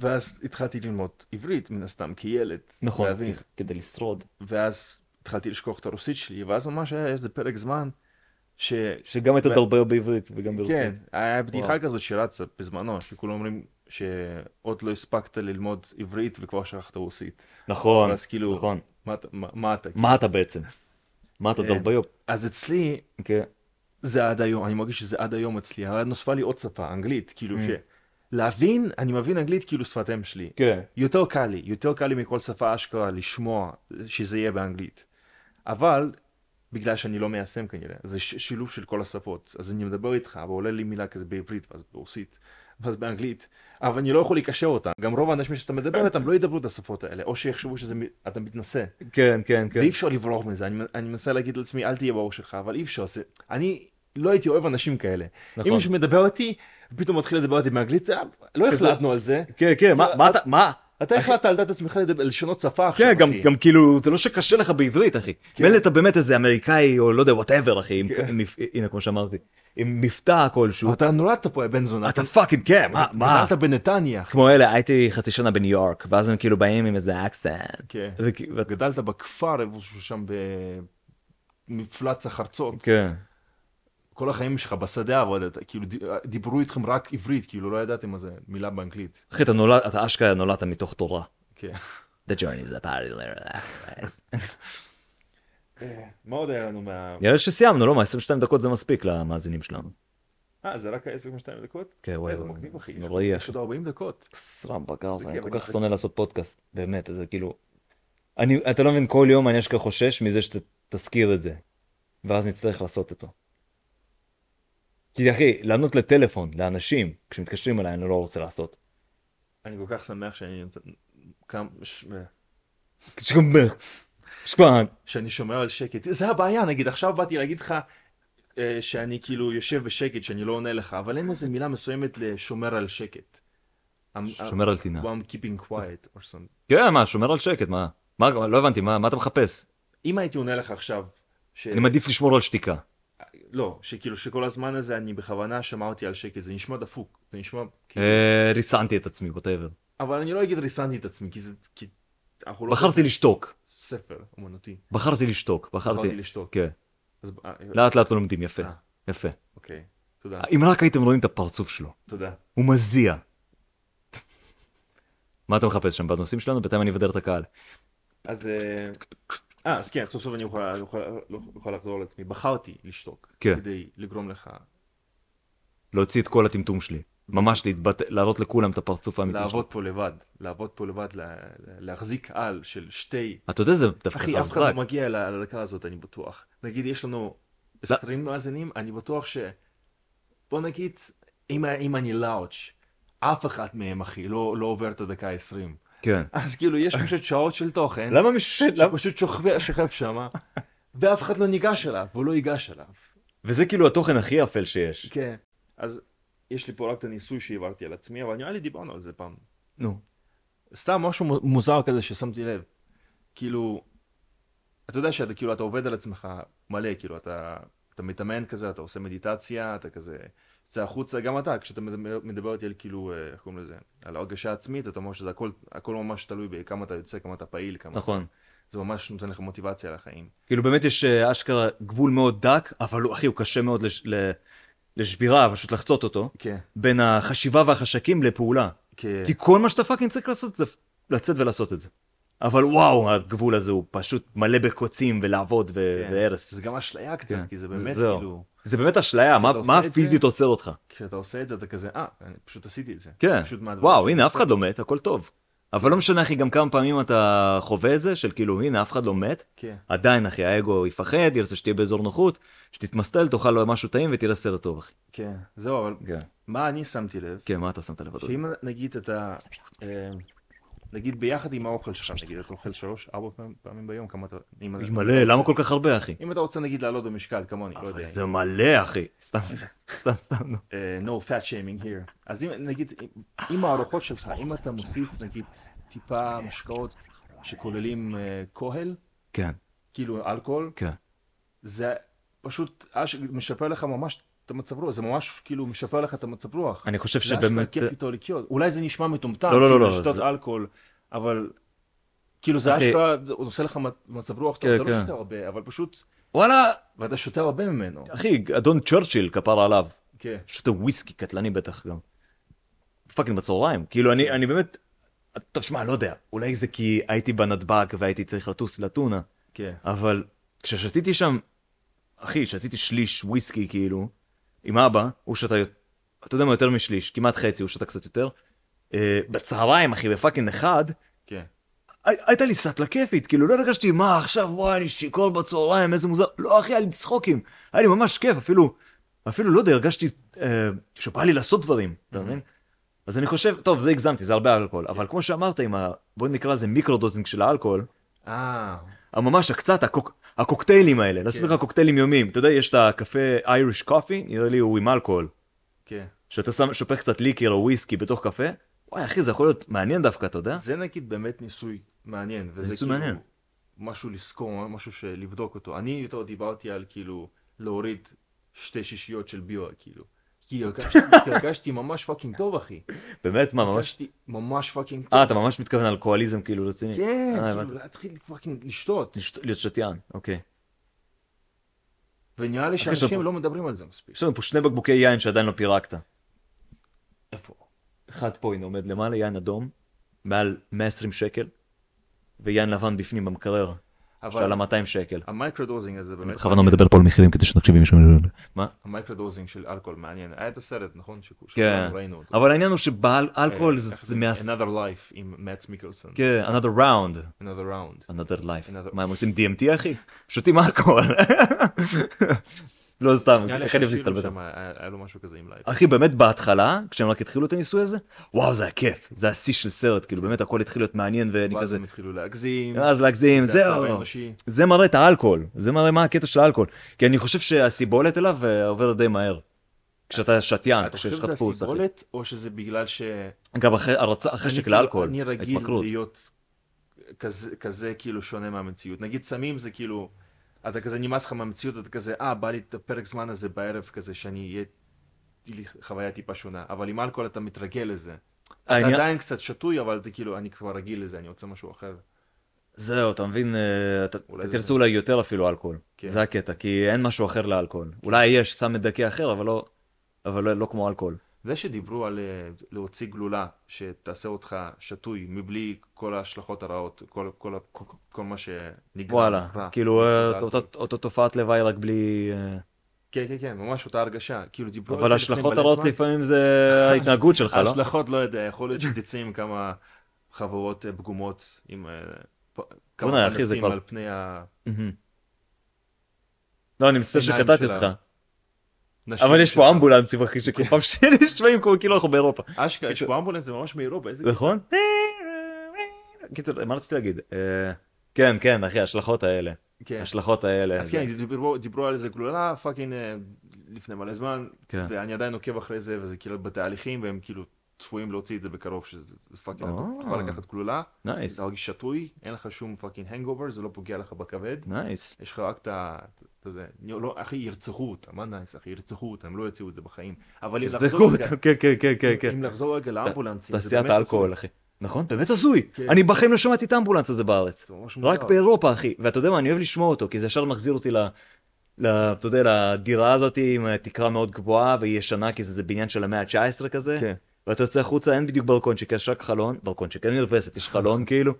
A: ואז התחלתי ללמוד עברית, מן הסתם, כילד.
B: נכון,
A: להבין.
B: כ- כדי לשרוד.
A: ואז התחלתי לשכוח את הרוסית שלי, ואז ממש היה איזה פרק זמן, ש...
B: שגם הייתה
A: ו-
B: דרבר בעברית וגם
A: כן,
B: ברוסית.
A: היה בדיחה
B: וואו.
A: כזאת שרצה בזמנו, שכולם אומרים שעוד לא הספקת ללמוד עברית וכבר שכחת רוסית.
B: נכון,
A: אז כאילו,
B: נכון.
A: מה אתה- מה- מה אתה?
B: מה אתה בעצם? מה אתה
A: כן.
B: דרביוב?
A: אז אצלי,
B: כן.
A: זה עד היום, אני מרגיש שזה עד היום אצלי, אבל נוספה לי עוד שפה, אנגלית, כאילו
B: Mm.
A: ש... להבין, אני מבין אנגלית כאילו שפת אם שלי.
B: כן.
A: יותר קל לי, יותר קל לי מכל שפה אשכרה לשמוע שזה יהיה באנגלית. אבל, בגלל שאני לא מיישם כנראה, זה ש- שילוב של כל השפות. אז אני מדבר איתך, אבל עולה לי מילה כזה בעברית, ואז ברוסית, ואז באנגלית, אבל אני לא יכול לקשר אותה. גם רוב האנשים שאתה מדבר איתם לא ידברו את השפות האלה, או שיחשבו שאתה מתנשא.
B: כן, כן, כן.
A: ואי אפשר לברוח מזה, אני, אני מנסה להגיד לעצמי, אל תהיה ברור שלך, אבל אי אפשר, זה, אני לא הייתי אוהב אנשים כאלה.
B: נכון.
A: אם מישהו מדבר אותי, ופתאום מתחיל לדבר אותי באנגלית, זה- לא החלטנו על זה.
B: כן, כן, מה-
A: לא,
B: מה אתה, מה?
A: אתה
B: אחי-
A: החלטת על דעת עצמך לדבר- לשנות שפה עכשיו,
B: כן, גם,
A: אחי.
B: גם כאילו, זה לא שקשה לך בעברית, אחי. מילא אתה באמת איזה אמריקאי, או לא יודע, וואטאבר, אחי, עם,
A: כן.
B: עם, מפ- הנה, כמו שאמרתי, עם מבטא כלשהו,
A: אתה נולדת פה, יא בן זונה.
B: אתה פאקינג, כן, מה, מה?
A: נולדת בנתניה, אחי.
B: כמו אלה, הייתי חצי שנה בניו יורק, ואז הם כאילו באים עם איזה אקסנט.
A: כן.
B: זה כאילו- ואת-
A: גדלת בכפר איפשהו שם במפלץ החרצות.
B: כן.
A: כל החיים שלך בשדה עבדת, כאילו ד- דיברו איתכם רק עברית, כאילו לא ידעתם מה זה מילה באנגלית.
B: אחי, אתה נולד, אתה אשכרה נולדת מתוך תורה.
A: כן.
B: The journey is a party.
A: אה, מה עוד היה לנו מה...
B: נראה לי שסיימנו, לא? מה, 22 דקות זה מספיק למאזינים שלנו.
A: אה, זה רק היה 22 דקות?
B: כן, וואי,
A: איזה
B: וואי,
A: מגניב, אחי.
B: זה נוראי,
A: יש
B: אחי.
A: עוד 40 דקות.
B: סרם בגרזה, אני
A: כיף,
B: כל
A: אני
B: כך
A: חושב.
B: שונא לעשות פודקאסט, באמת, זה כאילו... אני, אתה לא מבין, כל יום אני אשכרה חושש מזה שתזכיר את זה, ואז נצטרך לעשות אותו. כי אחי, לענות לטלפון, לאנשים, כשמתקשרים אליי, אני לא רוצה לעשות.
A: אני כל כך שמח שאני נמצא- קם... ש-
B: שגם ב- שכבר,
A: שאני שומר על שקט. זה הבעיה, נגיד, עכשיו באתי להגיד לך אה, שאני כאילו יושב בשקט, שאני לא עונה לך, אבל אין איזה מילה מסוימת לשומר על שקט. I'm- uh,
B: שומר על טינה.
A: I'm keeping quiet or something.
B: כן, מה, שומר על שקט, מה? מה, לא הבנתי, מה מה אתה מחפש?
A: אם הייתי עונה לך עכשיו, ש...
B: אני מעדיף לשמור על שתיקה.
A: לא, שכאילו שכל הזמן הזה אני בכוונה שמרתי על שקט, זה נשמע דפוק, זה נשמע... כאילו-
B: אה, ריסנתי את עצמי, ווטאבר.
A: אבל אני לא אגיד ריסנתי את עצמי, כי זה... כי אנחנו לא...
B: בחרתי לשתוק,
A: ספר אומנותי.
B: בחרתי לשתוק,
A: בחרתי
B: בחרתי.
A: לשתוק.
B: כן,
A: אז- אה,
B: לאט לאט לא לומדים, יפה,
A: אה.
B: יפה.
A: אוקיי, תודה,
B: אם רק הייתם רואים את הפרצוף שלו.
A: תודה.
B: הוא מזיע. מה אתה מחפש שם בנושאים שלנו? בינתיים אני אבדר את הקהל.
A: אז... אה, אה, אז כן, סוף סוף אני יכול- אני יכול לא יכול לחזור על עצמי. בחרתי לשתוק.
B: כן.
A: כדי לגרום לך
B: להוציא את כל הטמטום שלי. ממש להתבטא, להראות לכולם את הפרצוף האמיתי שלי.
A: לעבוד פה לבד. לעבוד פה לבד, לה- להחזיק על של שתי...
B: אתה יודע, זה דווקא
A: אחי, אף אחד
B: חזק.
A: לא מגיע ל- לדקה הזאת, אני בטוח. נגיד, יש לנו
B: לא.
A: 20 מאזינים, אני בטוח ש... בוא נגיד, אם אם אני לאוץ', אף אחד מהם, אחי, לא לא עובר את הדקה ה-20.
B: כן.
A: אז כאילו, יש פשוט שעות של תוכן.
B: למה מישהו... למה-
A: שפשוט שוכב- שוכב שם, ואף אחד לא ניגש אליו, והוא לא ייגש אליו.
B: וזה כאילו התוכן הכי אפל שיש.
A: כן. אז יש לי פה רק את הניסוי שהעברתי על עצמי, אבל נראה לי דיברנו על זה פעם.
B: נו.
A: סתם משהו מו- מוזר כזה ששמתי לב. כאילו, אתה יודע שאתה כאילו, אתה עובד על עצמך מלא, כאילו, אתה, אתה מתאמן כזה, אתה עושה מדיטציה, אתה כזה, יוצא החוצה, גם אתה, כשאתה מדבר, מדבר איתי על כאילו, אה, איך קוראים לזה, על הרגשה עצמית, אתה אומר שזה הכל, הכל ממש תלוי בכמה אתה יוצא, כמה אתה פעיל, כמה...
B: נכון.
A: זה ממש נותן לך מוטיבציה לחיים.
B: כאילו באמת יש אה, אשכרה גבול מאוד דק, אבל הוא, אחי, הוא קשה מאוד לש- ל- לשבירה, פשוט לחצות אותו,
A: כן.
B: בין החשיבה והחשקים לפעולה.
A: כן.
B: כי כל מה שאתה פאקינג צריך לעשות זה לצאת ולעשות את זה. אבל וואו, הגבול הזה הוא פשוט מלא בקוצים ולעבוד ו-
A: כן.
B: והרס.
A: זה גם אשליה קצת,
B: כן.
A: כי זה
B: זה-
A: באמת
B: זהו.
A: כאילו,
B: זה באמת אשליה, מה-
A: כשאתה עושה
B: מה
A: את
B: פיזית
A: זה-
B: עוצר אותך?
A: כשאתה עושה את זה אתה כזה, אה, אני פשוט עשיתי את זה.
B: כן.
A: פשוט מהדברים
B: וואו,
A: שאני
B: הנה, אף
A: עושה.
B: אחד לא מת, הכל טוב. אבל לא משנה, אחי, גם כמה פעמים אתה חווה את זה, של כאילו, הנה, אף אחד לא מת.
A: כן.
B: עדיין, אחי, האגו יפחד, ירצה שתהיה באזור נוחות, שתתמסטל, תאכל לו משהו טעים ותראה סרט טוב, אחי.
A: כן, זהו, אבל
B: כן.
A: מה אני שמתי לב,
B: כן, מה אתה שמת לב? אדוני?
A: שאם נגיד אתה, אה, נגיד ביחד עם האוכל שלך, נגיד אתה אוכל שלוש, ארבע פעמים- פעמים ביום, כמה אתה, אם אתה-
B: מלא, למה כל כך הרבה, אחי?
A: אם אתה רוצה נגיד לעלות במשקל כמוני, לא
B: אבל
A: יודע,
B: זה מלא, אחי. סתם, סתם, סתם. נו.
A: אה, no fat shaming here, אז אם נגיד, עם הארוחות שלך, אם אתה מוסיף נגיד טיפה משקאות שכוללים אה, כהל,
B: כן,
A: כאילו אלכוהול,
B: כן.
A: זה פשוט אש- משפר אה, לך ממש את המצב רוח, זה ממש כאילו משפר לך את המצב רוח.
B: אני חושב
A: זה אשכרה
B: שבאמת... אה,
A: כיף איתו לחיות. אולי זה נשמע מטומטם,
B: לא, לא, לא,
A: כאילו,
B: לא,
A: לשתות
B: זה-
A: אלכוהול, אבל כאילו זה
B: אחי-
A: אשכרה, זה עושה לך מ- מצב רוח טוב,
B: כן,
A: אתה לא
B: כן.
A: שותה הרבה, אבל פשוט,
B: וואלה,
A: ואתה שותה הרבה ממנו.
B: אחי, אדון צ'רצ'יל כפר עליו.
A: כן.
B: שותה וויסקי קטלני בטח גם. פאקינג בצהריים. כאילו אני, אני באמת... טוב, שמע, לא יודע. אולי זה כי הייתי בנתב"ג והייתי צריך לטוס לטונה,
A: כן.
B: אבל כששתיתי שם, אחי, שתיתי שליש וויסקי כאילו, עם אבא, הוא שתה, יות- אתה יודע מה, יותר משליש, כמעט חצי, הוא שתה קצת יותר. אה, בצהריים, אחי, בפאקינג אחד,
A: כן.
B: הי- הייתה לי סטלה כיפית, כאילו לא הרגשתי מה עכשיו וואי אני שיכור בצהריים איזה מוזר, לא אחי היה לי צחוקים, היה לי ממש כיף אפילו, אפילו לא יודע הרגשתי אה, שבא לי לעשות דברים, אתה מבין? אז אני חושב, טוב זה הגזמתי זה הרבה אלכוהול, אבל כמו שאמרת עם ה... בוא נקרא לזה מיקרודוזינג של האלכוהול,
A: אה,
B: הממש הקצת הקוק... הקוקטיילים האלה, לעשות
A: כן.
B: לך קוקטיילים יומיים, אתה יודע יש את הקפה אייריש קופי, נראה לי הוא עם אלכוהול,
A: כן.
B: שאתה שם שופך קצת ליקר או וויסקי בתוך קפה, וואי אחי זה יכול להיות מעניין דווקא אתה יודע?
A: זה נגיד באמת ניסוי מעניין, וזה
B: ניסוי
A: כאילו
B: מעניין.
A: משהו לזכור, משהו שלבדוק אותו. אני יותר דיברתי על כאילו להוריד שתי שישיות של בירה, כאילו. כי הרגשתי, כי הרגשתי ממש פאקינג טוב, אחי.
B: באמת מה ממש?
A: הרגשתי ממש פאקינג טוב.
B: אה, אתה ממש מתכוון אלכוהוליזם כאילו רציני.
A: כן,
B: אה, הבנתי.
A: כאילו, להתחיל פאקינג לשתות.
B: לשת- להיות שתיין, אוקיי.
A: ונראה לי
B: אחרי
A: שאנשים
B: שאנחנו-
A: לא מדברים על זה מספיק.
B: יש לנו פה שני בקבוקי יין שעדיין לא פירקת.
A: איפה?
B: אחד פה, הנה עומד למעלה, יין אדום, מעל 120 שקל, ויין לבן בפנים במקרר,
A: אבל
B: שעלה 200 שקל.
A: המייקרודוזינג הזה
B: אני
A: באמת,
B: בכוונה מדבר פה על מחירים כדי שתקשיב אם מישהו... מה?
A: המייקרודוזינג של אלכוהול מעניין. היה את הסרט, נכון? ש-
B: כן.
A: שכולנו ראינו אותו.
B: אבל העניין הוא שבאלכוהול
A: איך
B: זה מה...
A: Another Life עם מאט מיקלסון.
B: כן, another round.
A: Another Round.
B: another life.
A: Another-
B: מה, הם עושים DMT אחי? שותים אלכוהול. לא סתם,
A: נראה לי
B: חייב
A: שהשאירו
B: להסתלבט.
A: שם, היה היה לו משהו כזה עם לייב.
B: אחי באמת בהתחלה כשהם רק התחילו את הניסוי הזה וואו זה היה כיף זה השיא של סרט כאילו באמת הכל התחיל להיות מעניין ואני
A: ואז
B: כזה
A: הם התחילו להגזים.
B: אז להגזים
A: זה
B: זהו
A: הצד האנושי.
B: זה מראה את האלכוהול זה מראה מה הקטע של האלכוהול כי אני חושב שהסיבולת אליו אה, עוברת די מהר. כשאתה שתיין
A: אתה חושב
B: כשיש לך
A: שזה
B: דפוס אחי.
A: הסיבולת, או שזה בגלל ש...
B: גם אחרי הרצ-
A: אני
B: החשק
A: כאילו-
B: לאלכוהול
A: אני רגיל
B: התמכרות.
A: להיות כזה- כזה כאילו שונה מהמציאות. נגיד סמים זה כאילו, אתה כזה נמאס לך מהמציאות, אתה כזה, אה, בא לי את הפרק זמן הזה בערב כזה, שאני אהיה... תהיה לי חוויה טיפה שונה, אבל עם אלכוהול אתה מתרגל לזה. אתה
B: העניין-
A: עדיין קצת שתוי, אבל אתה כאילו, אני כבר רגיל לזה, אני רוצה משהו אחר.
B: זהו אתה מבין אה, אתה
A: אולי
B: אתה
A: זה-
B: תרצה אולי יותר אפילו אלכוהול
A: כן.
B: זה הקטע כי אין משהו אחר לאלכוהול אולי יש סם מדכא אחר אבל לא אבל לא- לא כמו אלכוהול.
A: זה שדיברו על אה, להוציא גלולה שתעשה אותך שתוי מבלי כל ההשלכות הרעות, כל, כל, ה- כל, כל מה שנגרם.
B: וואלה,
A: רע.
B: כאילו אה,
A: רע.
B: אותה- אותה תופעת לוואי רק בלי... אה,
A: כן, כן, כן, ממש אותה הרגשה. כאילו דיברו
B: אבל
A: על זה לפני
B: השלכות
A: מלא
B: הרעות
A: זמן.
B: לפעמים זה ההתנהגות שלך, לא?
A: ההשלכות, לא יודע, יכול להיות שתצא עם כמה חברות אה, פגומות, עם אה, פ- כמה
B: בוא'נה, אחי, זה
A: פנסים
B: כבר-
A: על פני הנשים.
B: מהמם. לא, אני מצטער
A: העיניים
B: שקטעתי
A: שלה.
B: אותך, אבל יש פה
A: שלך.
B: אמבולנסים אחי שכפעם שנשמעים כמו כאילו אנחנו באירופה,
A: אשכרה, יש פה אמבולנס, זה ממש מאירופה, איזה...
B: נכון? קיצור, מה רציתי להגיד? אה, כן, כן, אחי, ההשלכות האלה.
A: כן.
B: ההשלכות האלה.
A: אז כן, דיברו, דיברו על זה גלולה פאקינג אה, לפני מלא זמן,
B: כן.
A: ואני עדיין עוקב אחרי זה, וזה כאילו בתהליכים, והם כאילו צפויים להוציא את זה בקרוב, שזה זה פאקינג, אתה
B: אה.
A: תוכל לקחת גלולה,
B: נייס,
A: אתה מרגיש שתוי, אין לך שום פאקינג הנגובר, זה לא פוגע לך בכבד,
B: נייס.
A: יש לך רק את ה... אתה יודע, לא, אחי, ירצחו אותה, מה נייס, אחי, ירצחו אותה, הם לא יוציאו את זה בחיים. אבל אם
B: זה
A: לחזור
B: קורה,
A: רגע-
B: כן, כן, כן, כן, כן.
A: אם לחזור רגע לאמבולנסים, זה
B: תעשיית
A: באמת
B: האלכוהול,
A: הזוי.
B: אחי. נכון? באמת הזוי.
A: כן.
B: אני בחיים לא שמעתי את האמבולנס הזה בארץ.
A: זה ממש
B: רק
A: מוזר.
B: באירופה אחי ואתה יודע מה אני אוהב לשמוע אותו כי זה ישר מחזיר אותי ל... ל... אתה יודע לדירה הזאת עם תקרה מאוד גבוהה והיא ישנה כי זה, זה בניין של המאה ה-19 כזה
A: כן.
B: ואתה יוצא החוצה אין בדיוק ברקונצ'יק יש רק חלון ברקונצ'יק אין מרפסת יש חלון כאילו.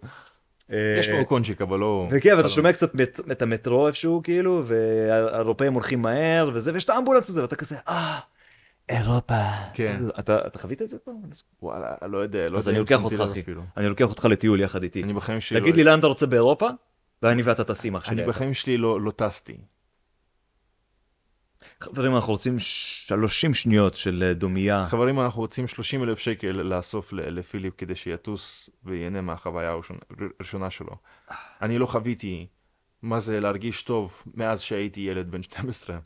A: יש
B: אה,
A: פה קונצ'יק, אבל לא...
B: וכן ואתה שומע קצת מט... את המטרו איפשהו כאילו והאירופאים הולכים מהר וזה ויש את האמבולנס הזה ואתה כזה אה אירופה
A: כן.
B: אתה, אתה חווית את זה פעם?
A: וואלה, לא יודע, לא
B: אז
A: יודע
B: אני
A: אם
B: לוקח
A: שמתי
B: אותך
A: לב
B: אחי
A: אפילו.
B: אני לוקח אותך לטיול יחד איתי
A: אני בחיים שלי...
B: תגיד
A: לא-
B: לי לאן אתה רוצה באירופה ואני ואתה טסים אח שלי.
A: אני בחיים שלי לא לא טסתי.
B: חברים, אנחנו רוצים 30 שניות של אה, דומייה.
A: חברים, אנחנו רוצים 30 אלף שקל לאסוף ל- לפיליפ כדי שיטוס וייהנה מהחוויה הראשונה- הראשונה שלו. אני לא חוויתי מה זה להרגיש טוב מאז שהייתי ילד בן 12.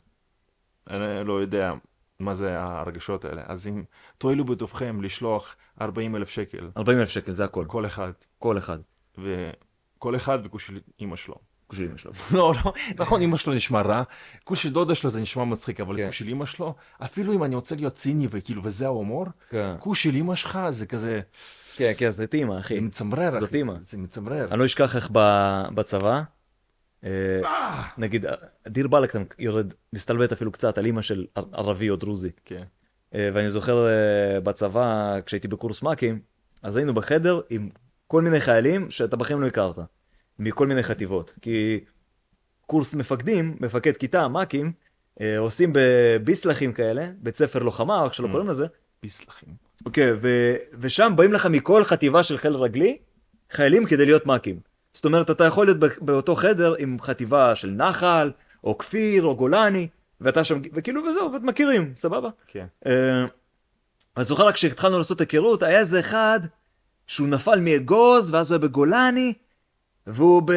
A: אני לא יודע מה זה ההרגשות האלה. אז אם תואילו בטובכם לשלוח 40 אלף שקל,
B: 40 אלף שקל, זה הכל.
A: כל אחד,
B: כל אחד.
A: וכל אחד בקושי אימא שלו.
B: כוש של אמא שלו.
A: לא, לא, נכון, אמא שלו נשמע רע, כוש של דודה שלו זה נשמע מצחיק, אבל
B: כן.
A: כוש של אמא שלו, אפילו אם אני רוצה להיות ציני וכאילו, וזה ההומור,
B: כן.
A: כוש של אמא שלך זה כזה,
B: כן, כן, זאת אימא, אחי.
A: זה מצמרר,
B: זאת
A: אחי.
B: אמא.
A: זה מצמרר.
B: אני לא אשכח איך ב- בצבא, אה,
A: אה!
B: נגיד, דיר באלק אתה יורד, מסתלבט אפילו קצת על אימא של ער- ערבי או דרוזי.
A: כן.
B: אה, ואני זוכר אה, בצבא, כשהייתי בקורס מ"כים, אז היינו בחדר עם כל מיני חיילים שאתה בחיים לא הכרת, מכל מיני חטיבות. כי קורס מפקדים, מפקד כיתה, מ"כים, אה, עושים בביסלחים כאלה, בית ספר לוחמה, או איך שלא
A: Mm.
B: קוראים לזה,
A: ביסלחים.
B: אוקיי, ו- ושם באים לך מכל חטיבה של חיל רגלי, חיילים כדי להיות מ"כים. זאת אומרת, אתה יכול להיות ב- באותו חדר עם חטיבה של נחל, או כפיר, או גולני, ואתה שם, וכאילו וזהו, ואת מכירים, סבבה?
A: כן.
B: אה, אני זוכר רק כשהתחלנו לעשות היכרות, היה איזה אחד שהוא נפל מאגוז, ואז הוא היה בגולני, והוא, ב...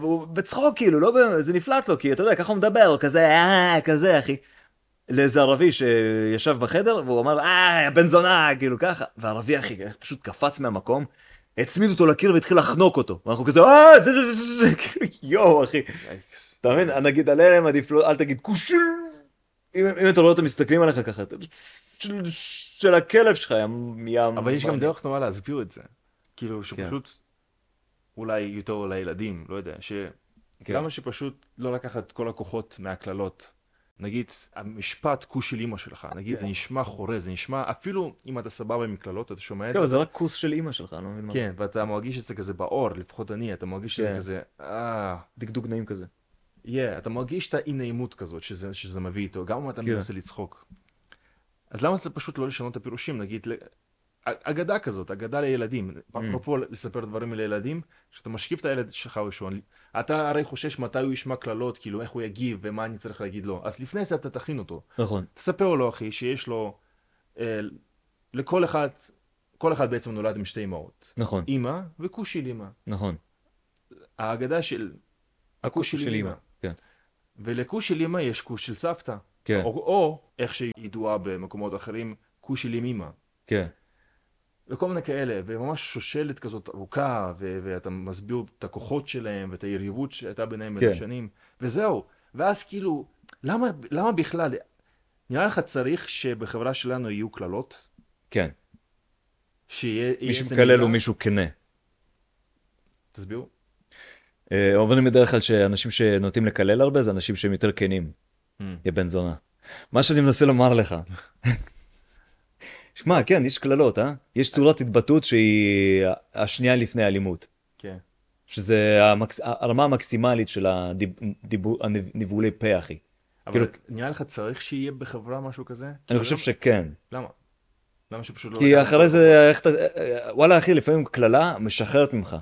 B: והוא בצחוק כאילו, לא ב... זה נפלט לו, כי אתה יודע, ככה הוא מדבר, הוא כזה, אה, כזה, אחי. לאיזה ערבי שישב בחדר, והוא אמר, אה, יא בן זונה, כאילו ככה. והערבי, אחי, פשוט קפץ מהמקום, הצמיד אותו לקיר והתחיל לחנוק אותו. ואנחנו כזה, אה, זה, זה, זה, זה, זה, כאילו, יואו, אחי.
A: ייקס.
B: אתה מבין? נגיד עליהם עדיף לא, אל תגיד כושל. אם, אם אתה רואה אותם מסתכלים עליך ככה, אתה- של, של הכלב שלך, ים, ים.
A: אבל יש גם דרך נורא להסביר את זה.
B: כן.
A: כאילו, שפשוט, אולי יותר לילדים, לא יודע, ש...
B: כן.
A: למה שפשוט לא לקחת את כל הכוחות מהקללות? נגיד, המשפט כוש של אמא שלך, נגיד,
B: כן.
A: זה נשמע חורה, זה נשמע, אפילו אם אתה סבבה עם קללות, אתה שומע את זה,
B: כן, אבל זה רק כוס של אימא שלך, אני לא מבין מה.
A: כן, ואתה מרגיש את זה כזה בעור, לפחות אני, אתה מרגיש את זה
B: כן.
A: כזה, אה,
B: דגדוג נעים כזה.
A: yeah, אתה מרגיש את האי נעימות כזאת שזה, שזה מביא איתו, גם אם אתה
B: כן.
A: מנסה לצחוק. אז למה זה פשוט לא לשנות את הפירושים, נגיד, ל- אגדה כזאת, אגדה לילדים,
B: Mm.
A: אפרופו לספר דברים לילדים, כשאתה משקיף את הילד שלך ראשון, אתה הרי חושש מתי הוא ישמע קללות, כאילו איך הוא יגיב ומה אני צריך להגיד לו, אז לפני זה אתה תכין אותו,
B: נכון.
A: תספר לו אחי שיש לו, אה, לכל אחד, כל אחד בעצם נולד עם שתי אמהות,
B: נכון,
A: אמא וכוש של אמא,
B: נכון.
A: האגדה של, הכוש של אמא.
B: כן.
A: ולכוש של אמא יש כוש של סבתא.
B: כן.
A: או, או איך שהיא ידועה במקומות אחרים, כוש של אמא.
B: כן.
A: וכל מיני כאלה, וממש שושלת כזאת ארוכה, ו- ואתה מסביר את הכוחות שלהם, ואת היריבות שהייתה ביניהם בין
B: כן.
A: השנים, וזהו. ואז כאילו, למה, למה בכלל? נראה לך צריך שבחברה שלנו יהיו קללות?
B: כן.
A: שיהיה...
B: מי
A: איזה
B: שמקלל
A: מילה?
B: הוא מישהו כנה.
A: תסבירו.
B: אה, אומרים בדרך כלל שאנשים שנוטים לקלל הרבה זה אנשים שהם יותר כנים.
A: Mm.
B: יא בן זונה. מה שאני מנסה לומר לך. שמע, כן, יש קללות, אה? יש צורת התבטאות שהיא השנייה לפני האלימות.
A: כן.
B: שזה המקס... הרמה המקסימלית של הדיבור, הניבולי פה, אחי.
A: אבל
B: כאילו-
A: נראה לך צריך שיהיה בחברה משהו כזה?
B: אני חושב
A: למה-
B: שכן.
A: למה? למה שפשוט לא...
B: כי
A: לקחת
B: אחרי
A: אותו?
B: זה, איך אתה... אה, וואלה, אחי, לפעמים קללה משחררת ממך.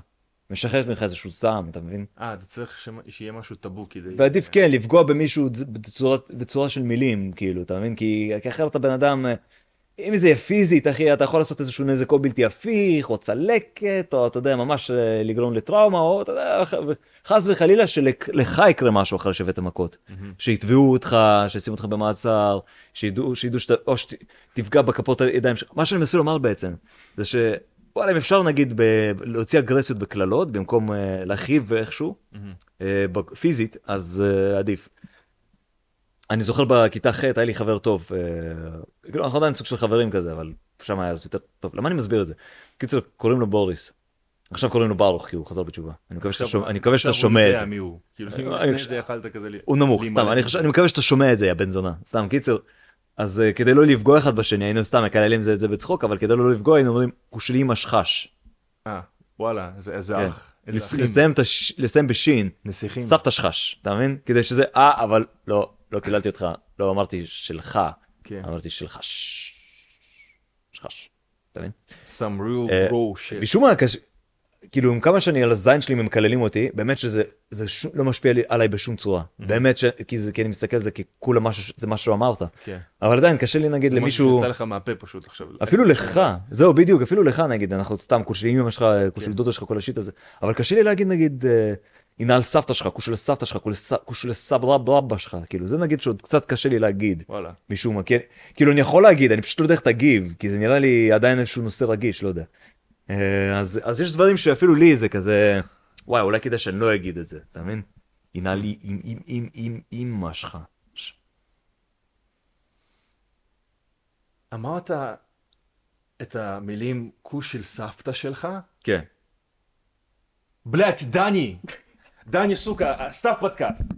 B: משחררת ממך איזשהו זעם, אתה מבין?
A: אה, אתה צריך שמ- שיהיה משהו טאבו כדי...
B: ועדיף כן לפגוע במישהו צ- בצורת, בצורה של מילים, כאילו, אתה מבין? כי כי אחרת הבן אדם, אה, אם זה יהיה פיזית, אחי, אתה יכול לעשות איזשהו נזק או בלתי הפיך, או צלקת, או אתה יודע, ממש אה, לגרום לטראומה, או אתה יודע, ח- חס וחלילה שלך יקרה משהו אחרי שהבאת מכות.
A: מהמם.
B: שיתבעו אותך, שישימו אותך במעצר, שידעו, שידעו שאתה, או שתפגע בכפות הידיים שלך. מה שאני מנסה לומר בעצם, זה ש... וואלה, אם אפשר נגיד ב... להוציא אגרסיות בקללות, במקום אה, להכאיב איכשהו,
A: מהמם.
B: אה, ב- פיזית, אז אה, עדיף. אני זוכר בכיתה ח' היה לי חבר טוב, אה, כאילו אנחנו עדיין סוג של חברים כזה, אבל שם היה אז יותר טוב. למה אני מסביר את זה? קיצור, קוראים לו בוריס. עכשיו קוראים לו ברוך, כי הוא חזר בתשובה. אני מקווה שאתה
A: עכשיו-
B: שומע- אני מקווה שאתה
A: עכשיו הוא
B: שומע את
A: יודע
B: זה.
A: מי הוא. כאילו,
B: אה,
A: אם
B: אה,
A: לפני
B: כש-
A: זה יכלת כזה... ל-
B: הוא נמוך,
A: לי
B: סתם,
A: מלא.
B: אני, חושב, אני מקווה שאתה שומע את זה, יא בן זונה. סתם, קיצר, אז אה, כדי לא לפגוע אחד בשני, היינו סתם מקללים זה את זה בצחוק, אבל כדי לא לפגוע, היינו אומרים, הוא שלי משחש.
A: אה, וואלה, איזה
B: כן.
A: איזה אח. איזה
B: לס-
A: אחים.
B: לסיים את הש- לסיים בשין,
A: נסיכים.
B: סבתא שחש, אתה מבין? כדי שזה, אה, אבל לא, לא קיללתי אותך, לא אמרתי שלך,
A: כן.
B: אמרתי שלך, ש- שחש, אתה מבין?
A: Some real
B: אה,
A: bro shit.
B: משום מה, קש- כאילו, עם כמה שאני על הזין שלי מקללים אותי, באמת שזה זה ש... לא משפיע לי, עליי בשום צורה.
A: Mhm.
B: באמת, ש... כי, זה, כי אני מסתכל על זה ככולה משהו, ש- זה מה שאמרת.
A: כן.
B: אבל עדיין קשה לי נגיד
A: זה משהו
B: למישהו,
A: שיצא לך מהפה פשוט עכשיו.
B: אפילו לך, זהו בדיוק, אפילו לך נגיד, אנחנו סתם כושלים אמא שלך, כושל
A: כן.
B: דודה שלך, כל השיט הזה, אבל קשה לי להגיד נגיד, אה, הנה על סבתא שלך, כושל סבתא שלך, כושל ס- כושל סבא רבא שלך, כאילו זה נגיד שעוד קצת קשה לי להגיד,
A: וואלה.
B: משום מה, כן, כאילו אני יכול להגיד, אני פשוט לא יודע איך תגיב, כי זה נראה לי עדיין איזשהו נושא רגיש, לא יודע. אה, אז אז יש דברים שאפילו לי זה כזה, וואי אולי כדאי שאני לא אגיד את זה, אתה מבין? הנה לי עם עם עם עם אמא שלך. ש-
A: אמרת את המילים כוש של סבתא שלך?
B: כן.
A: בלять, דני! דני, сука, оставь подкаст.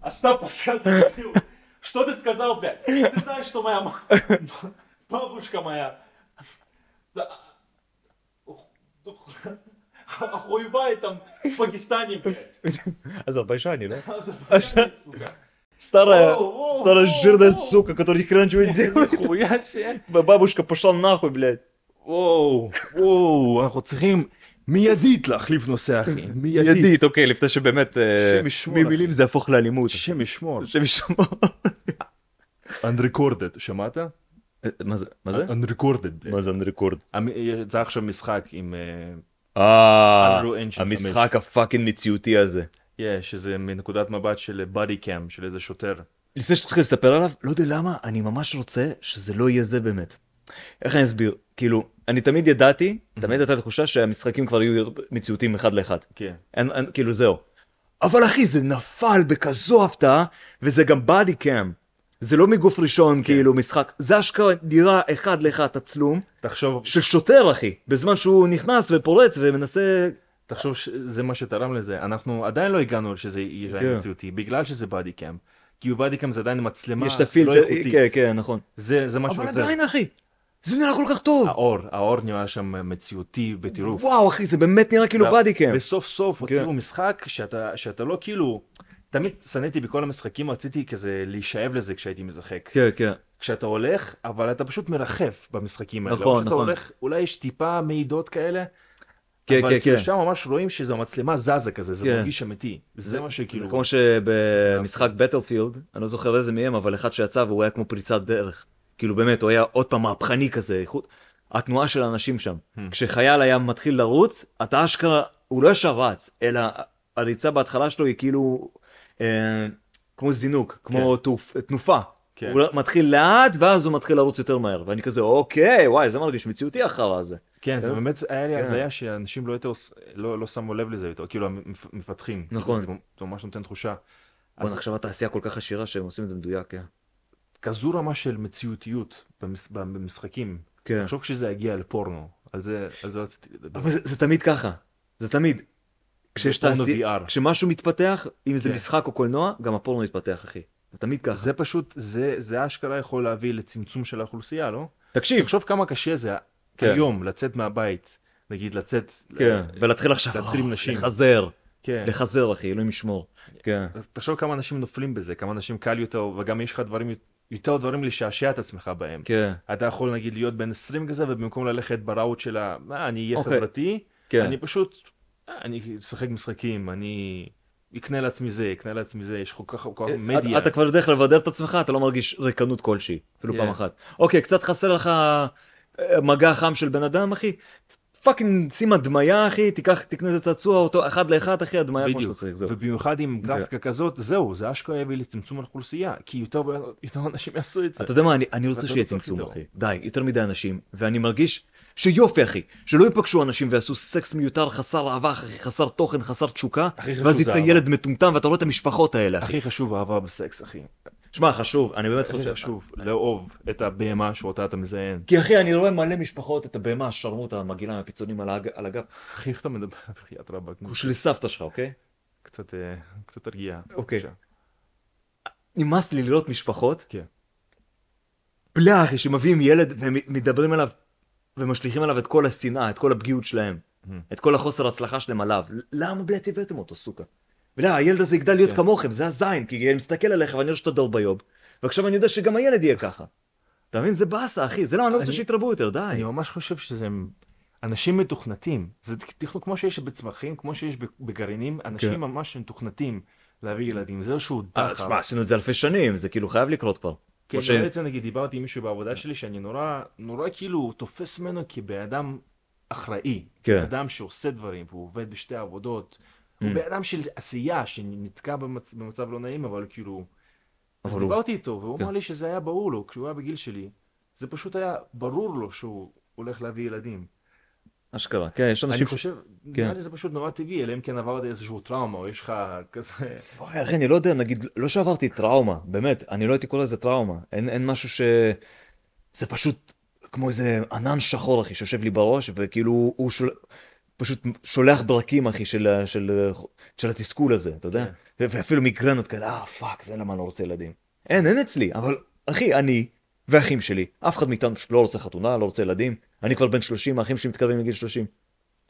A: Оставь подкаст. Что ты сказал, блядь? Ты знаешь, что моя ма- бабушка моя да, ох- ох- охуевает там в Пакистане, блядь.
B: Азербайджане, да?
A: Азербайджане, сука.
B: Старая,
A: Воу, воу,
B: старая
A: воу,
B: жирная
A: воу.
B: сука, которая ни хрена ничего не делает.
A: Нихуя себе.
B: Твоя бабушка пошла нахуй, блядь.
A: וואו, וואו, אנחנו צריכים מיידית להחליף נושא, אחי. מיידית.
B: ידית, אוקיי, לפני שבאמת... אה,
A: השם ישמור,
B: ממילים
A: אחי.
B: זה יהפוך לאלימות.
A: השם ישמור.
B: השם ישמור.
A: Unrecorded, שמעת?
B: אה, מה זה? מה זה?
A: Unrecorded.
B: מה זה אנדרקורד?
A: המ- יצא עכשיו משחק עם... אה,
B: אה,
A: Unreal Engine
B: המשחק הפאקינג מציאותי הזה.
A: yeah, שזה מנקודת מבט של בודי קאם, של איזה שוטר.
B: לפני שתתחיל לספר עליו, לא יודע למה, אני ממש רוצה שזה לא יהיה זה באמת. איך אני אסביר? כאילו, אני תמיד ידעתי,
A: Mhm.
B: תמיד הייתה תחושה שהמשחקים כבר יהיו מציאותיים אחד לאחד.
A: כן.
B: אין, אין, כאילו זהו. אבל אחי, זה נפל בכזו הפתעה, וזה גם בדי קאם. זה לא מגוף
A: כן.
B: ראשון, כאילו, משחק. זה אשכרה נראה אחד לאחד תצלום
A: תחשוב,
B: של שוטר, אחי, בזמן שהוא נכנס ופורץ ומנסה...
A: תחשוב שזה מה שתרם לזה. אנחנו עדיין לא הגענו שזה
B: כן.
A: יהיה מציאותי, בגלל שזה בודי קאם. כי בודי קאם זה עדיין מצלמה
B: יש את הפילטר,
A: לא איכותית.
B: כן, כן, נכון.
A: זה זה מה
B: אבל
A: שעוזר.
B: עדיין, אחי, זה נראה כל כך טוב.
A: האור, האור נראה שם מציאותי בטירוף.
B: וואו, אחי, זה באמת נראה כאילו
A: ו-
B: בדי קאם.
A: וסוף סוף הוציאו
B: כן.
A: משחק שאתה, שאתה לא כאילו, תמיד שנאתי בכל המשחקים, רציתי כזה להישאב לזה כשהייתי משחק.
B: כן, כן.
A: כשאתה הולך, אבל אתה פשוט מרחף במשחקים האלה.
B: נכון,
A: או שאתה
B: נכון.
A: הולך, אולי יש טיפה מעידות כאלה,
B: כן,
A: אבל
B: כן,
A: כאילו
B: כן.
A: שם ממש רואים שזו המצלמה זזה כזה, זה
B: כן.
A: מרגיש אמיתי. זה מה
B: זה
A: שכאילו...
B: כמו שבמשחק בטלפילד, אני לא זוכר איזה מהם, אבל אחד שיצא והוא היה כמו פריצת דרך. כאילו באמת, הוא היה עוד פעם מהפכני כזה, איכות. התנועה של האנשים שם.
A: Hmm.
B: כשחייל היה מתחיל לרוץ, אתה אשכרה, הוא לא ישר רץ, אלא הריצה בהתחלה שלו היא כאילו, אה, כמו זינוק, כמו תעופ- תנופה.
A: כן.
B: הוא מתחיל לאט, ואז הוא מתחיל לרוץ יותר מהר. ואני כזה, אוקיי, וואי, זה מרגיש מציאותי אחר הזה.
A: כן, זה
B: כן.
A: באמת היה לי
B: כן.
A: הזיה שאנשים לא יותר, עוש- לא לא שמו לב לזה יותר, כאילו המפ- מפתחים.
B: נכון.
A: זה ממש נותן תחושה.
B: בוא'נה,
A: אז-
B: עכשיו התעשייה כל כך עשירה שהם עושים את זה מדויק, כן.
A: כזו רמה של מציאותיות במש- במשחקים.
B: כן.
A: תחשוב כשזה יגיע לפורנו, על זה על זה רציתי לדבר.
B: אבל זה, זה תמיד ככה, זה תמיד. כשיש
A: פורנו
B: תעשייה,
A: VR.
B: כשמשהו מתפתח, אם זה
A: כן.
B: משחק או קולנוע, גם הפורנו מתפתח, אחי. זה תמיד ככה.
A: זה פשוט, זה- זה אשכרה יכול להביא לצמצום של האוכלוסייה, לא?
B: תקשיב,
A: תחשוב כמה קשה זה
B: כן.
A: היום לצאת מהבית, נגיד לצאת...
B: כן, ולהתחיל עכשיו,
A: להתחיל עם נשים.
B: לחזר,
A: כן.
B: לחזר, אחי, אלוהים ישמור. כן.
A: אז תחשוב כמה אנשים נופלים בזה, כמה אנשים קל יותר, וגם יש לך דברים, יותר דברים לשעשע את עצמך בהם.
B: כן.
A: אתה יכול נגיד להיות בן 20 כזה, ובמקום ללכת בראוט של ה... מה, אני אהיה
B: אוקיי.
A: חברתי,
B: כן.
A: אני פשוט, אה, אני אשחק משחקים, אני אקנה לעצמי זה, אקנה לעצמי זה, יש כל כך כל כך מדיה.
B: אה, אתה- אתה כבר יודע איך לבדר את עצמך, אתה לא מרגיש ריקנות כלשהי, אפילו
A: כן.
B: פעם אחת. אוקיי, קצת חסר לך אה, מגע חם של בן אדם, אחי. פאקינג שים הדמיה, אחי, תיקח, תקנה איזה צעצוע, אותו אחד לאחד, אחי, הדמיה כמו שאתה
A: בדיוק,
B: צריך, זהו. כן.
A: ובמיוחד עם גרפיקה כזאת, זהו, זה אשכרה יביא לצמצום האוכלוסייה, כי יותר ויותר אנשים יעשו את זה.
B: אתה יודע מה, אני, אני רוצה
A: ואתה
B: שיהיה
A: לא צריך
B: צמצום,
A: לדאוג.
B: אחי. די, יותר מדי אנשים, ואני מרגיש שיופי, אחי, שלא ייפגשו אנשים ויעשו סקס מיותר, חסר אהבה, אחי, חסר תוכן, חסר תשוקה,
A: הכי חשוב
B: ואז
A: זה
B: יצא
A: אהבה.
B: ילד מטומטם ואתה רואה את המשפחות האלה, אחי.
A: הכי חשוב אהבה בסקס, אחי.
B: שמע, חשוב, אני באמת
A: הכי
B: חושב.
A: חשוב לאהוב את הבהמה שאותה אתה מזיין.
B: כי אחי, אני רואה מלא משפחות, את הבהמה השרמוטה, המגעילה, הפיצונים על האג- על הגב,
A: אחי, איך אתה מדבר על בחיית רבאק?
B: הוא של סבתא שלך, אוקיי?
A: קצת, אה, קצת תרגיע.
B: אוקיי.
A: בבקשה.
B: נמאס לי לראות משפחות,
A: כן.
B: בלה, אחי, שמביאים ילד ומדברים עליו ומשליכים עליו את כל השנאה, את כל הפגיעות שלהם,
A: Mm-hmm.
B: את כל החוסר הצלחה שלהם עליו. למה בלעד הבאתם אותו, סוכה? בלה, הילד הזה יגדל להיות
A: כן.
B: כמוכם, זה הזין, כי אני מסתכל עליך ואני רואה שאתה דור ביוב, ועכשיו אני יודע שגם הילד יהיה ככה. אתה מבין? זה באסה, אחי, זה למה אני לא רוצה
A: אני-
B: שיתרבו יותר, די.
A: אני ממש חושב שזה אנשים מתוכנתים. זה תכנון כמו שיש בצמחים, כמו שיש ב- בגרעינים,
B: כן.
A: אנשים ממש מתוכנתים להביא ילדים. זה איזשהו
B: אה,
A: דחף.
B: שמע, עשינו את זה אלפי שנים, זה כאילו חייב לקרות כבר.
A: כן,
B: כמו ש-
A: אני רואה את זה, נגיד, דיברתי עם מישהו בעבודה שלי, שאני נורא, נורא כאילו תופס ממנו כבן אדם אחראי.
B: כן. Mm.
A: בן אדם שעושה דברים, והוא עובד בשתי עבודות. הוא בן אדם של עשייה, שנתקע במצ... במצב לא נעים, אבל כאילו...
B: אבל
A: אז
B: הוא-
A: דיברתי איתו, והוא
B: כן.
A: אמר לי שזה היה ברור לו, כשהוא היה בגיל שלי, זה פשוט היה ברור לו שהוא הולך להביא ילדים.
B: אשכרה, כן, יש
A: אני
B: אנשים ש... כן.
A: חושב, נראה לי זה פשוט נורא טבעי, אלא אם כן עברת איזשהו טראומה, או יש לך כזה...
B: וואי, אחי, אני לא יודע, נגיד, לא שעברתי טראומה, באמת, אני לא הייתי קורא לזה טראומה. אין, אין משהו ש... זה פשוט כמו איזה ענן שחור, אחי, שיושב לי בראש, וכאילו הוא שול... פשוט שולח ברקים, אחי, של, ה- של, ה- של התסכול הזה, אתה יודע?
A: כן.
B: ו- ואפילו מיגרנות כאלה, אה, פאק, זה למה אני לא רוצה ילדים. אין, אין אצלי, אבל, אחי, אני והאחים שלי, אף אחד מאיתנו פשוט לא רוצה חתונה, לא רוצה ילדים. אני כבר בן 30, האחים שלי מתקרבים לגיל 30.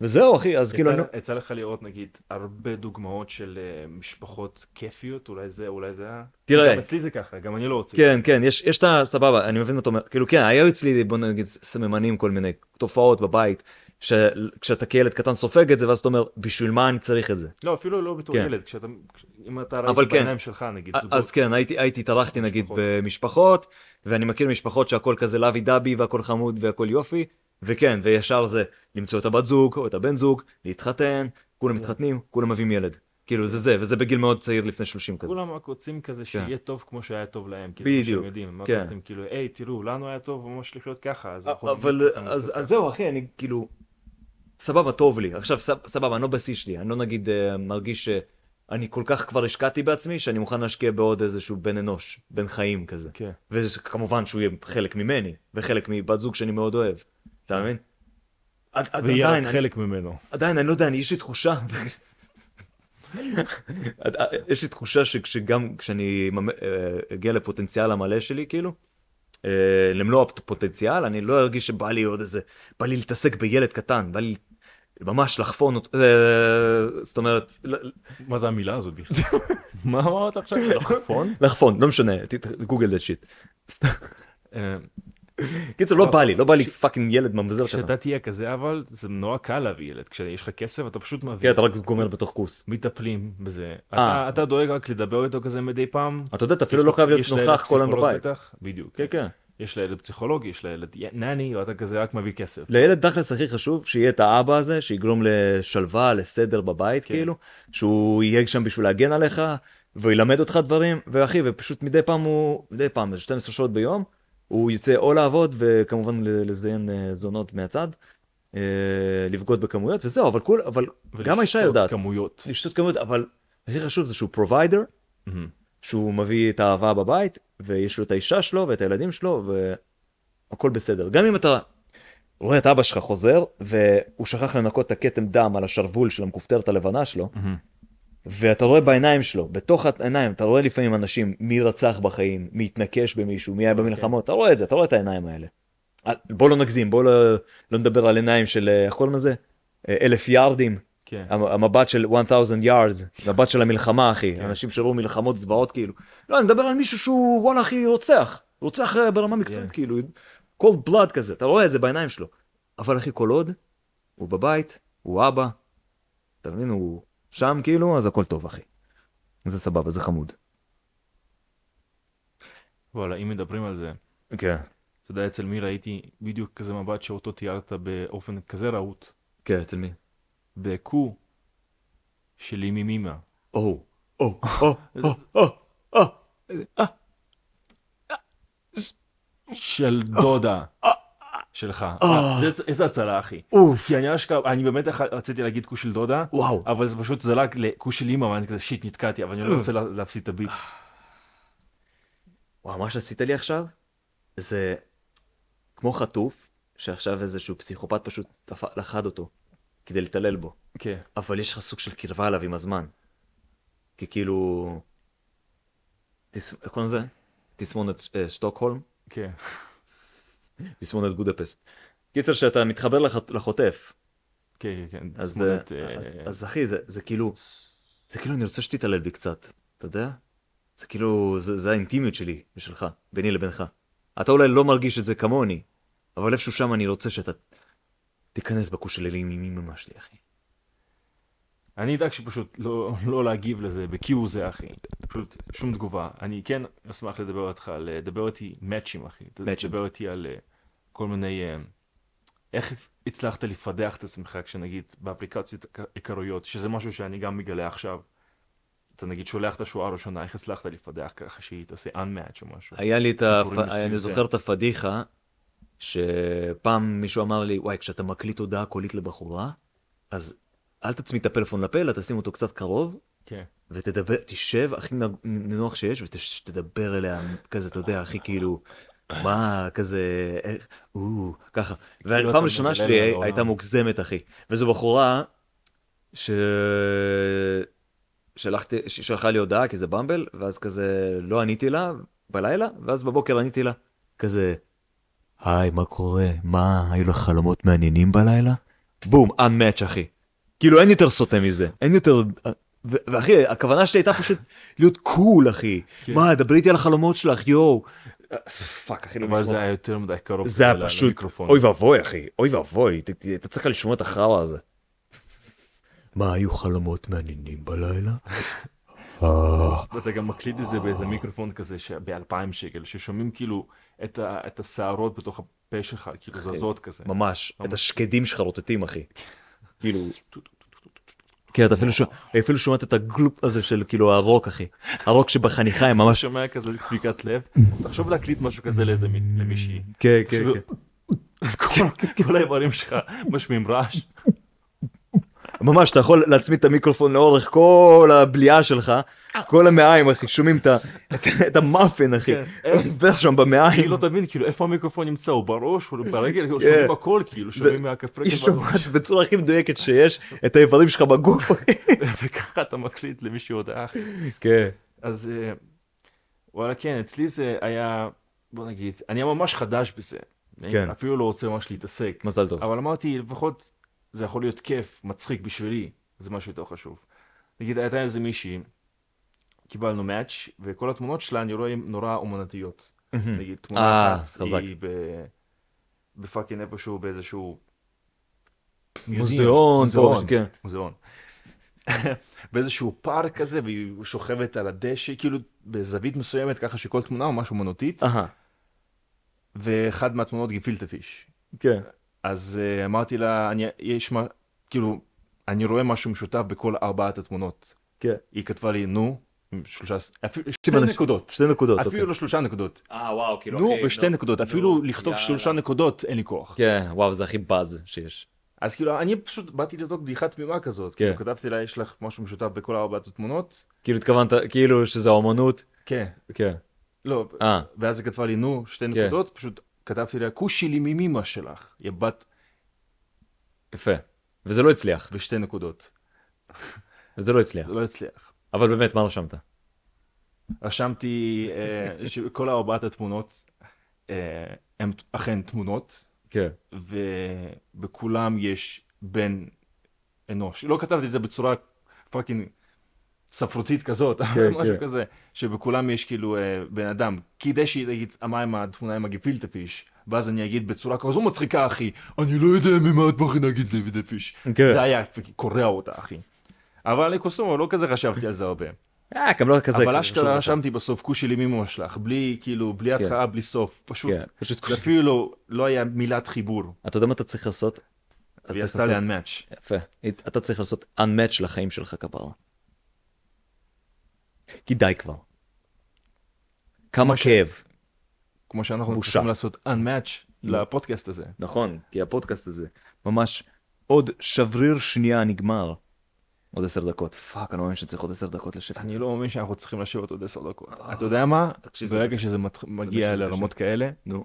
B: וזהו, אחי, אז כאילו...
A: יצא
B: אני...
A: לך- יצא לך לראות נגיד הרבה דוגמאות של אה, משפחות כיפיות, אולי זה, אולי זה ה...
B: תראה.
A: גם אצלי זה ככה, גם אני לא רוצה.
B: כן, כן, יש, יש את ה... סבבה, אני מבין מה אתה אומר. כאילו, כן, היו אצלי, בוא נגיד, סממנים כל מיני תופעות בבית, שכשאתה כילד קטן סופג את זה, ואז אתה אומר, בשביל מה אני צריך את זה?
A: לא, אפילו לא בתור
B: כן.
A: ילד, כשאתה... כש- אם אתה
B: אבל
A: ראית
B: כן.
A: בעיניים שלך, נגיד,
B: א-
A: זוגות.
B: אז כן, הייתי, הייתי התארחתי נגיד
A: משפחות.
B: במשפחות, ואני מכיר משפחות שהכל כזה לוי דבי והכל חמוד והכל יופי, וכן, וישר זה למצוא את הבת זוג או את הבן זוג, להתחתן,
A: כן.
B: כולם מתחתנים, כולם מביאים ילד. כאילו, זה זה, וזה בגיל מאוד צעיר לפני 30 כזה.
A: כולם רק רוצים כזה שיהיה טוב כמו שהיה טוב להם, כי זה מה
B: כן. בדיוק,
A: שהם יודעים, הם רק
B: כן.
A: רוצים כאילו, היי, תראו, לנו היה טוב, ממש צריך להיות ככה, אז אנחנו
B: אבל
A: נעשה אותם
B: אז
A: יותר
B: אז
A: ככה.
B: זהו אחי אני כאילו סבבה טוב לי עכשיו סב- סבבה אני לא בשיא שלי אני לא נגיד אה, מרגיש שאני כל כך כבר השקעתי בעצמי שאני מוכן להשקיע בעוד איזשהו בן אנוש בן חיים כזה
A: כן.
B: וכמובן שהוא יהיה חלק ממני וחלק מבת זוג שאני מאוד אוהב אתה מבין? עד- עד-
A: כן. ויהיה
B: עדיין
A: רק
B: אני-
A: חלק ממנו.
B: עדיין אני לא יודע אני יש לי תחושה עד- אה, יש לי תחושה שגם כשאני ממ- אה, אגיע לפוטנציאל המלא שלי כאילו אה, למלוא הפוטנציאל אני לא ארגיש שבא לי עוד איזה בא לי להתעסק בילד קטן בא לי ממש לחפון אותו אה, זאת אומרת ל-
A: מה זה המילה הזאת בכלל? מה אמרת עכשיו? לחפון?
B: לחפון לא משנה ת- גוגל זה שיט.
A: אה,
B: קיצור לא
A: לא,
B: בא לי לא בא לי
A: כש-
B: פאקינג ילד ממזר שלך.
A: כשאתה תהיה כזה, אבל זה נורא קל להביא ילד. כשיש לך כסף, אתה פשוט
B: כן,
A: מביא.
B: אתה רק גומר בתוך כוס.
A: מטפלים בזה.
B: אה.
A: אתה- אתה דואג רק לדבר איתו כזה מדי פעם.
B: אתה יודע אתה אפילו
A: יש
B: לא
A: לו-
B: חייב להיות
A: יש לילד
B: נוכח כל היום
A: פסיכולוג
B: בבית.
A: בטח, בדיוק.
B: כן כן.
A: יש לילד פסיכולוג, יש לילד נני, או אתה כזה רק מביא כסף.
B: לילד תכלס הכי חשוב שיהיה את האבא הזה שיגרום לשלווה לסדר בבית
A: כן.
B: כאילו שהוא יהיה שם בשביל להגן עליך וילמד אותך דברים ואחי ופשוט מדי פעם הוא מדי פעם זה 12 שעות ביום הוא יצא או לעבוד וכמובן ל- לזיין אה, זונות מהצד אה, לבגוד בכמויות וזהו אבל כול אבל גם האישה
A: ולשתות
B: יודעת
A: כמויות.
B: לשתות כמויות אבל הכי חשוב זה שהוא פרוביידר
A: מהמם.
B: שהוא מביא את האהבה בבית, ויש לו את האישה שלו ואת הילדים שלו, והכל בסדר. גם אם אתה רואה את אבא שלך חוזר, והוא שכח לנקות את הכתם דם על השרוול של המכופתרת הלבנה שלו,
A: מהמם.
B: ואתה רואה בעיניים שלו, בתוך העיניים, אתה רואה לפעמים אנשים, מי רצח בחיים, מי התנקש במישהו, מי היה במלחמות, אתה רואה את זה, אתה רואה את העיניים האלה. אל- בוא לא נגזים, בוא לא, לא נדבר על עיניים של, אה, איך קוראים לזה? אה, אלף יארדים.
A: כן.
B: המ- המבט של 1000 yards, מבט של המלחמה אחי,
A: כן.
B: אנשים שראו מלחמות זוועות כאילו. לא, אני מדבר על מישהו שהוא וואלה אחי רוצח, רוצח אה, ברמה מקצועית
A: כן.
B: כאילו, cold blood כזה, אתה רואה את זה בעיניים שלו. אבל אחי כל עוד, הוא בבית, הוא אבא, אתה מבין, הוא שם כאילו, אז הכל טוב אחי. זה סבבה, זה חמוד.
A: וואלה, אם מדברים על זה,
B: כן.
A: אתה יודע אצל מי ראיתי בדיוק כזה מבט שאותו תיארת באופן כזה רהוט,
B: כן, אצל מי?
A: בקו של אימי מימה.
B: או, או, או, או, או, או,
A: של דודה שלך. אה, זה- איזה הצלה אחי.
B: אוף,
A: כי אני אשכרה, אני באמת אח- רציתי להגיד קו של דודה,
B: וואו.
A: אבל זה פשוט זלג לקו של אימא, ואני כזה שיט נתקעתי, אבל אני לא רוצה לה- להפסיד את הביט.
B: אה. וואו, מה שעשית לי עכשיו, זה כמו חטוף, שעכשיו איזשהו פסיכופת פשוט תפ- לכד אותו, כדי להתעלל בו.
A: כן.
B: אבל יש לך סוג של קרבה אליו עם הזמן. כי כאילו... תס... איך קוראים לזה? תסמונת אה, שטוקהולם?
A: כן.
B: תסמונת בודפסט. קיצר, שאתה מתחבר לח... לחוטף,
A: כן, כן, כן.
B: אז,
A: תסמונת,
B: אה,
A: אה,
B: אז, אז אחי, זה, זה כאילו, זה כאילו אני רוצה שתתעלל בי קצת, אתה יודע? זה כאילו, זה, זה האינטימיות שלי ושלך, ביני לבינך. אתה אולי לא מרגיש את זה כמוני, אבל איפשהו שם אני רוצה שאתה תיכנס בכוש של אלים עם אמא שלי, אחי.
A: אני אדאג שפשוט לא, לא להגיב לזה בקיו זה אחי, פשוט שום תגובה. אני כן אשמח לדבר איתך על, דבר איתי מאצ'ים אחי,
B: מאצ'ים.
A: דבר איתי על אה, כל מיני, אה, איך הצלחת לפדח את עצמך כשנגיד באפליקציות עק- עיקריות, שזה משהו שאני גם מגלה עכשיו. אתה נגיד שולח את השורה הראשונה, איך הצלחת לפדח ככה שהיא תעשה unmatch או משהו.
B: היה לי את ה...
A: סיפורים כן.
B: היה-
A: לפי
B: אני
A: זה.
B: זוכר את הפדיחה שפעם מישהו אמר לי, וואי, כשאתה מקליט הודעה קולית לבחורה, אז אל תצמיד את הפלאפון לפה, אלא תשים אותו קצת קרוב,
A: כן.
B: ותדבר, תשב הכי נג- נינוח שיש, ותדבר אליה כזה, אתה יודע, הכי כאילו, מה, כזה, איך, או, ככה.
A: כאילו
B: והפעם
A: אתה
B: הראשונה
A: מדלל
B: שלי
A: על
B: הי-
A: העולם.
B: הייתה מוגזמת, אחי. וזו בחורה ש... שלחתי, ש- שלחה לי הודעה, כי זה במבל, ואז כזה לא עניתי לה בלילה, ואז בבוקר עניתי לה, כזה, היי, מה קורה? מה, היו לך חלומות מעניינים בלילה? בום, unmatch, אחי. כאילו, אין יותר סוטה מזה. אין יותר... אה, ו- ואחי, הכוונה שלי הייתה פשוט להיות קול, אחי.
A: כן.
B: מה, דברי איתי על החלומות שלך, יואו. פאק, אחי, לא
A: אבל זה
B: משמע.
A: היה יותר מדי קרוב
B: זה
A: ל-
B: היה פשוט,
A: למיקרופון.
B: אוי ואבוי, אחי, אוי ואבוי, ת- ת- אתה צריך לשמוע את החרא הזה. מה, היו חלומות מעניינים בלילה? אה,
A: ואתה גם מקליט את זה באיזה מיקרופון כזה ב-2000 שקל, ששומעים כאילו את ה- את השערות בתוך הפה שלך, כאילו זזות כזה.
B: אוקיי. ממש, את השקדים שלך רוטטים, אחי. כאילו,
A: טו, טו, טו, טו, טו, טו.
B: כן, אתה אפילו שומע- אפילו שומעת את הגלופ הזה של כאילו הרוק, אחי. הרוק שבחניכיים,
A: אתה
B: ממש...
A: שומע כזה דפיקת לב, תחשוב להקליט משהו כזה לאיזה מי- למישהי. כאילו,
B: כן, כן, כן.
A: כל- כל האיברים שלך משמיעים רעש.
B: ממש, אתה יכול להצמיד את המיקרופון לאורך כל הבליעה שלך, כל המעיים, אחי, שומעים את ה- את- את המאפין, אחי,
A: כן.
B: עובר שם במעיים.
A: היא לא תבין כאילו איפה המיקרופון נמצא, הוא בראש, הוא ברגל, כאילו,
B: כן.
A: שומעים הכל כאילו, שומעים מהכף
B: היא
A: רגל בראש.
B: שומעת בצורה הכי מדויקת שיש את האיברים שלך בגוף. אחי.
A: וככה אתה מקליט למישהו הודעה אחי.
B: כן.
A: אז אה, וואלה כן, אצלי זה היה, בוא נגיד, אני היה ממש חדש בזה.
B: כן.
A: אני אפילו לא רוצה ממש להתעסק.
B: מזל טוב.
A: אבל אמרתי, לפחות זה יכול להיות כיף, מצחיק בשבילי, זה משהו יותר חשוב. נגיד, הייתה איזה מישהי, קיבלנו מאץ', וכל התמונות שלה אני רואה הן נורא אומנותיות. נגיד,
B: אה,
A: תמונה אחת
B: חזק.
A: היא ב... בפאקינג איפשהו באיזשהו...
B: מוזיאון,
A: מוזיאון,
B: פה, כן.
A: מוזיאון. באיזשהו פארק כזה, והיא שוכבת על הדשא, כאילו בזווית מסוימת, ככה שכל תמונה ממש אומנותית,
B: אהה,
A: ואחד מהתמונות גפילטה פיש.
B: כן.
A: אז אה, אמרתי לה, אני, יש מה, כאילו, אני רואה משהו משותף בכל ארבעת התמונות.
B: כן.
A: היא כתבה לי, נו, עם שלושה, אפילו
B: שים
A: שתי
B: אנשים-
A: נקודות,
B: שתי נקודות. אוקיי.
A: אפילו לא שלושה נקודות.
B: אה, וואו, כאילו,
A: נו,
B: אחי,
A: ושתי
B: נו,
A: נקודות,
B: נו,
A: אפילו לכתוב
B: לא, יאללה.
A: שלושה נקודות, אין לי כוח.
B: כן, וואו, זה הכי באז שיש.
A: אז כאילו, אני פשוט באתי לזרוק בדיחה תמימה כזאת.
B: כן.
A: כאילו, כתבתי לה, יש לך משהו משותף בכל ארבעת התמונות?
B: כאילו התכוונת, כאילו שזה האומנות.
A: כן.
B: כן.
A: לא,
B: אה,
A: ואז היא כתבה לי, נו, שתי נקודות, פשוט כתבתי לה, כושי לי ממימא שלך, יא בת,
B: יפה. וזה לא הצליח,
A: ושתי נקודות.
B: וזה לא הצליח.
A: זה לא הצליח.
B: אבל באמת, מה רשמת?
A: רשמתי אה, שכל ארבעת התמונות אה, הן אכן תמונות,
B: כן.
A: ובכולם יש בן אנוש. לא כתבתי את זה בצורה פאקינג ספרותית כזאת, אבל
B: כן,
A: משהו
B: כן.
A: כזה, שבכולם יש כאילו אה, בן אדם. כדי שהיא תגיד, מה עם התמונה עם הגפילטה פיש? ואז אני אגיד בצורה כזו מצחיקה, אחי, אני לא יודע ממה את מכינה גפילטה פיש.
B: כן.
A: זה היה קורע אותה, אחי. אבל לקוסומו, לא כזה חשבתי על זה הרבה.
B: אה, גם לא כזה.
A: אבל
B: כאילו, שוב,
A: אשכרה רשמתי בסוף כושי למימו שלך, בלי כאילו, בלי התחלה, בלי סוף, פשוט,
B: כן, פשוט כושי.
A: אפילו לא- לא היה מילת חיבור,
B: אתה יודע מה אתה צריך לעשות? אתה
A: והיא
B: צריך
A: עשתה לי
B: לעשות-
A: unmatch.
B: יפה. אתה צריך לעשות unmatch לחיים שלך כפרה. כי די כבר. כמה
A: ש-
B: כאב.
A: כמו שאנחנו
B: בושה.
A: צריכים לעשות unmatch לפודקאסט הזה.
B: נכון, כי הפודקאסט הזה ממש עוד שבריר שנייה נגמר. עוד עשר דקות. פאק, אני לא מאמין שצריך עוד עשר דקות לשבת.
A: אני לא מאמין שאנחנו צריכים לשבת עוד עשר דקות. אתה יודע מה?
B: אה, תקשיב, זה
A: ברגע שזה מת- מגיע
B: שזה
A: לרמות כאלה,
B: נו.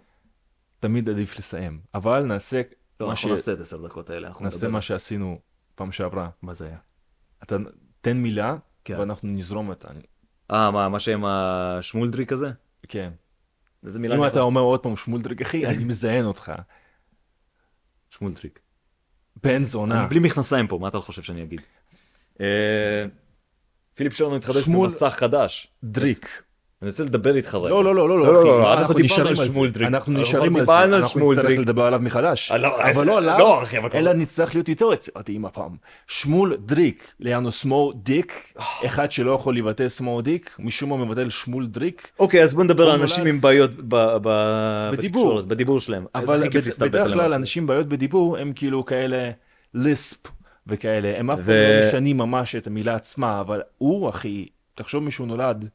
A: תמיד עדיף לסיים. אבל נעשה
B: לא,
A: מה ש-
B: אנחנו נעשה את עשר דקות האלה. אנחנו
A: נעשה
B: נדבר.
A: מה שעשינו פעם שעברה.
B: מה זה היה?
A: אתה תן מילה,
B: כן.
A: ואנחנו נזרום אותה.
B: אה, מה, מה שעם השמולדריק הזה?
A: כן.
B: איזה מילה?
A: אם
B: לא, אני
A: אתה אומר עוד פעם שמולדריק, אחי, אני מזיין אותך.
B: שמולדריק.
A: בן
B: אני
A: זונה.
B: בלי מכנסיים פה, מה אתה חושב שאני אגיד? אה, פיליפ שרנו התחדש
A: שמול-
B: במסך חדש.
A: דריק.
B: אני רוצה לדבר איתך רגע.
A: לא, לא, לא, לא,
B: לא, לא,
A: אחי,
B: לא,
A: מה,
B: אנחנו דיברנו על
A: נשארים זה.
B: שמולדריק.
A: אנחנו
B: אנחנו
A: נשארים
B: כבר
A: על
B: דיברנו
A: זה,
B: על
A: אנחנו נצטרך
B: שמולדריק.
A: לדבר עליו מחדש.
B: אה, לא,
A: אבל
B: אה,
A: לא
B: אה,
A: עליו,
B: לא, אחי, אבל כבר-
A: אלא נצטרך להיות יותר יצירתיים הפעם. שמול דריק, ליאנו סמור דיק,
B: אה.
A: אחד שלא יכול לבטא סמור דיק, משום מה מבטל שמול דריק,
B: אוקיי, אז בוא נדבר על
A: הוא
B: אנשים
A: נולד-
B: עם בעיות ב- ב-
A: בדיבור.
B: בתקשורת, בדיבור שלהם. איזה
A: אבל
B: הכי כיף
A: בד-
B: להסתלבט
A: בדרך
B: עליהם.
A: כלל אנשים עם בעיות בדיבור הם כאילו כאלה ליספ וכאלה, הם אף פעם
B: ו-
A: לא משנים ממש את המילה עצמה, אבל הוא אחי, תחשוב מישהו נולד,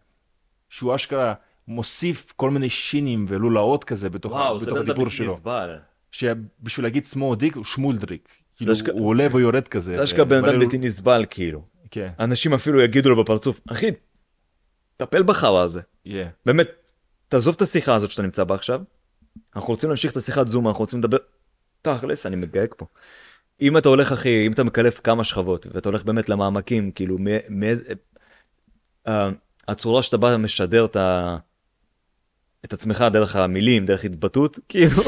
A: שהוא אשכרה מוסיף כל מיני שינים ולולאות כזה בתוך,
B: וואו,
A: בתוך
B: זה בן
A: הדיבור
B: אדם
A: שלו.
B: נסבל.
A: שבשביל להגיד שמאלדריק הוא שמולדריק. כאילו
B: אשכרה-
A: הוא עולה ויורד כזה.
B: זה אשכרה בן
A: ומלא
B: אדם
A: לול-
B: בלתי נסבל כאילו.
A: כן,
B: אנשים אפילו יגידו לו בפרצוף, אחי, טפל בחרא הזה.
A: yeah.
B: באמת, תעזוב את השיחה הזאת שאתה נמצא בה עכשיו. אנחנו רוצים להמשיך את השיחת זום, אנחנו רוצים לדבר... תכלס, אני מגייק פה. אם אתה הולך, אחי, אם אתה מקלף כמה שכבות, ואתה הולך באמת למעמקים, כאילו, מאיזה... מאיזה... אה, הצורה שאתה בא משדר את ה... את עצמך דרך המילים, דרך התבטאות, כאילו,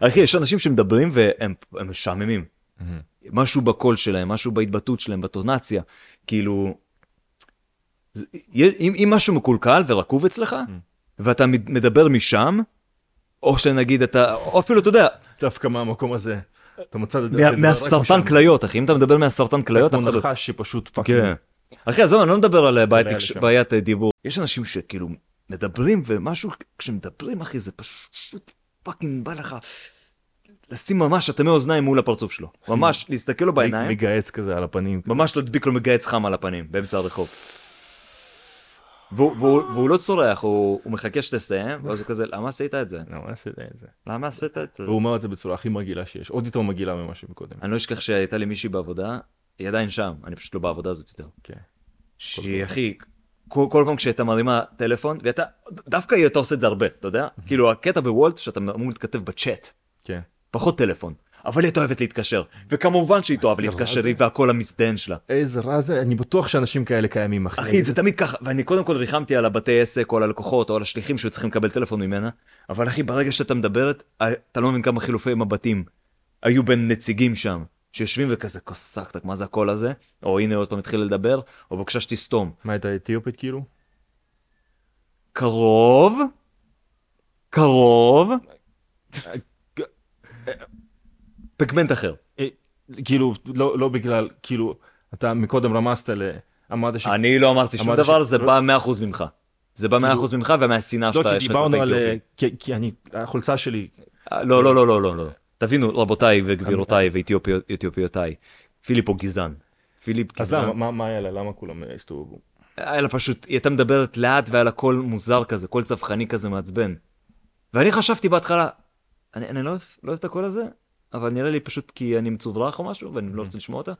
B: אחי, יש אנשים שמדברים והם הם משעממים.
A: מהמם.
B: משהו בקול שלהם, משהו בהתבטאות שלהם, בטונציה, כאילו... זה- יה- אם, אם משהו מקולקל ורקוב אצלך,
A: Mm.
B: ואתה מד- מדבר משם, או שנגיד אתה, או אפילו אתה יודע,
A: דווקא מהמקום הזה. אתה מצא את
B: מה,
A: הדבר לא רק משם.
B: מהסרטן כליות, אחי, אם אתה מדבר מהסרטן כליות, אף
A: כמו
B: אחד לא-
A: נחש שפשוט
B: כן.
A: פאקינג.
B: אחי, עזוב, אני לא מדבר על אה, בעיית
A: עולה
B: תקש-
A: לשם.
B: בעיית אה, דיבור. יש אנשים שכאילו מדברים ומשהו, כשמדברים, אחי, זה פשוט פאקינג בא לך לשים ממש אטמי אוזניים מול הפרצוף שלו. ממש להסתכל לו בעיניים.
A: מגהץ כזה על הפנים.
B: ממש להדביק לו מגייץ חם על הפנים באמצע הרחוב. והוא, והוא, והוא לא צורח, הוא, הוא מחכה שתסיים, ואז הוא כזה, למה עשית את זה?
A: לא, מה עשית את זה?
B: למה עשית את זה?
A: והוא אומר את זה בצורה הכי מגעילה שיש, עוד יותר מגעילה ממה שמקודם.
B: אני לא אשכח שהייתה לי מישהי בעבודה, היא עדיין שם, אני פשוט לא בעבודה הזאת יותר.
A: כן.
B: שהיא הכי, כל, כל פעם כשהייתה מרימה טלפון, והייתה, דווקא היא הייתה עושה את זה הרבה, אתה יודע? כאילו הקטע בוולט שאתה אמור להתכתב בצ'אט,
A: כן.
B: פחות טלפון, אבל היא הייתה אוהבת להתקשר, וכמובן שהיא תאהב
A: זה
B: להתקשר,
A: רע זה.
B: היא והקול המזדיין שלה.
A: איזה רע זה, אני בטוח שאנשים כאלה קיימים, אחי.
B: אחי זה תמיד ככה ואני קודם כל ריחמתי על הבתי עסק או על הלקוחות או על השליחים שהיו צריכים לקבל טלפון ממנה אבל אחי ברגע שאתה מדברת אה, אתה לא מבין כמה חילופי מבטים היו בין נציגים שם שיושבים וכזה קוסקטק מה זה הקול הזה או הנה עוד פעם התחיל לדבר או בבקשה שתסתום
A: מה, הייתה אתיופית כאילו?
B: קרוב קרוב פגמנט אחר
A: אה, כאילו, לא לא בגלל, כאילו, אתה מקודם רמזת ל... אמרת ש...
B: אני לא אמרתי שום
A: אמרתי ש-
B: דבר זה
A: לא-
B: בא 100% ממך זה בא 100% ממך ומהשנאה
A: לא,
B: שאתה
A: כי
B: יש לך
A: דיברנו
B: כלפי
A: על... אה,
B: אתיופים.
A: כי- כי אני... החולצה שלי...
B: אה, לא, לא, לא, לא, לא, לא. תבינו, רבותיי וגבירותיי ואתיופיותיי, פיליפ הוא גזען. פיליפ
A: אז
B: גזען.
A: למה? מה- מה היה לה? למה כולם אה, הסתובבו?
B: היה לה פשוט, היא הייתה מדברת לאט והיה לה קול מוזר כזה, קול צווחני כזה מעצבן. ואני חשבתי בהתחלה, אני, אני לא, אוהב- לא אוהב את הקול הזה, אבל נראה לי פשוט כי אני מצוברח או משהו ואני
A: Mm-hmm.
B: לא רוצה לשמוע אותה.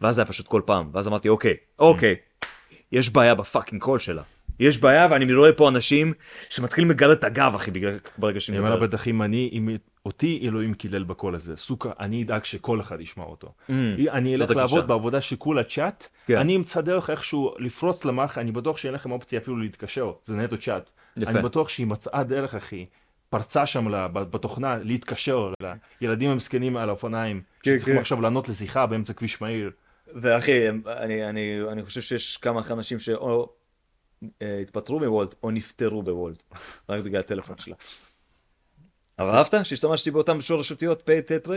B: ואז זה היה פשוט כל פעם, ואז אמרתי, אוקיי, אוקיי,
A: Mm-hmm.
B: יש בעיה בפאקינג קול שלה. יש בעיה ואני רואה פה אנשים שמתחילים לגרד את הגב, אחי, בגלל- ברגע שהיא
A: אני אומר לה
B: מדברת.
A: בטח אם אני, אם אותי אלוהים קילל בקול הזה, סוכה, אני אדאג שכל אחד ישמע אותו. אני
B: Mm. זאת
A: אלך
B: הגישה.
A: לעבוד בעבודה שכולה צ'אט,
B: כן.
A: אני אמצא דרך איכשהו לפרוץ למערכת, אני בטוח שאין לכם אופציה אפילו להתקשר, זה נטו צ'אט.
B: יפה.
A: אני בטוח שהיא מצאה דרך, אחי, פרצה שם לה- ב- בתוכנה להתקשר לילדים המסכנים על האופניים,
B: כן,
A: שצריכים
B: כן.
A: עכשיו לענות לשיחה באמצע כביש מהיר.
B: ואחי, הם- אני, אני, אני חושב שיש כמה אנשים שאו אה, התפטרו מוולט או נפטרו בוולט, רק בגלל הטלפון שלה. אבל אהבת שהשתמשתי באותן שורשותיות פ' ט' ר'?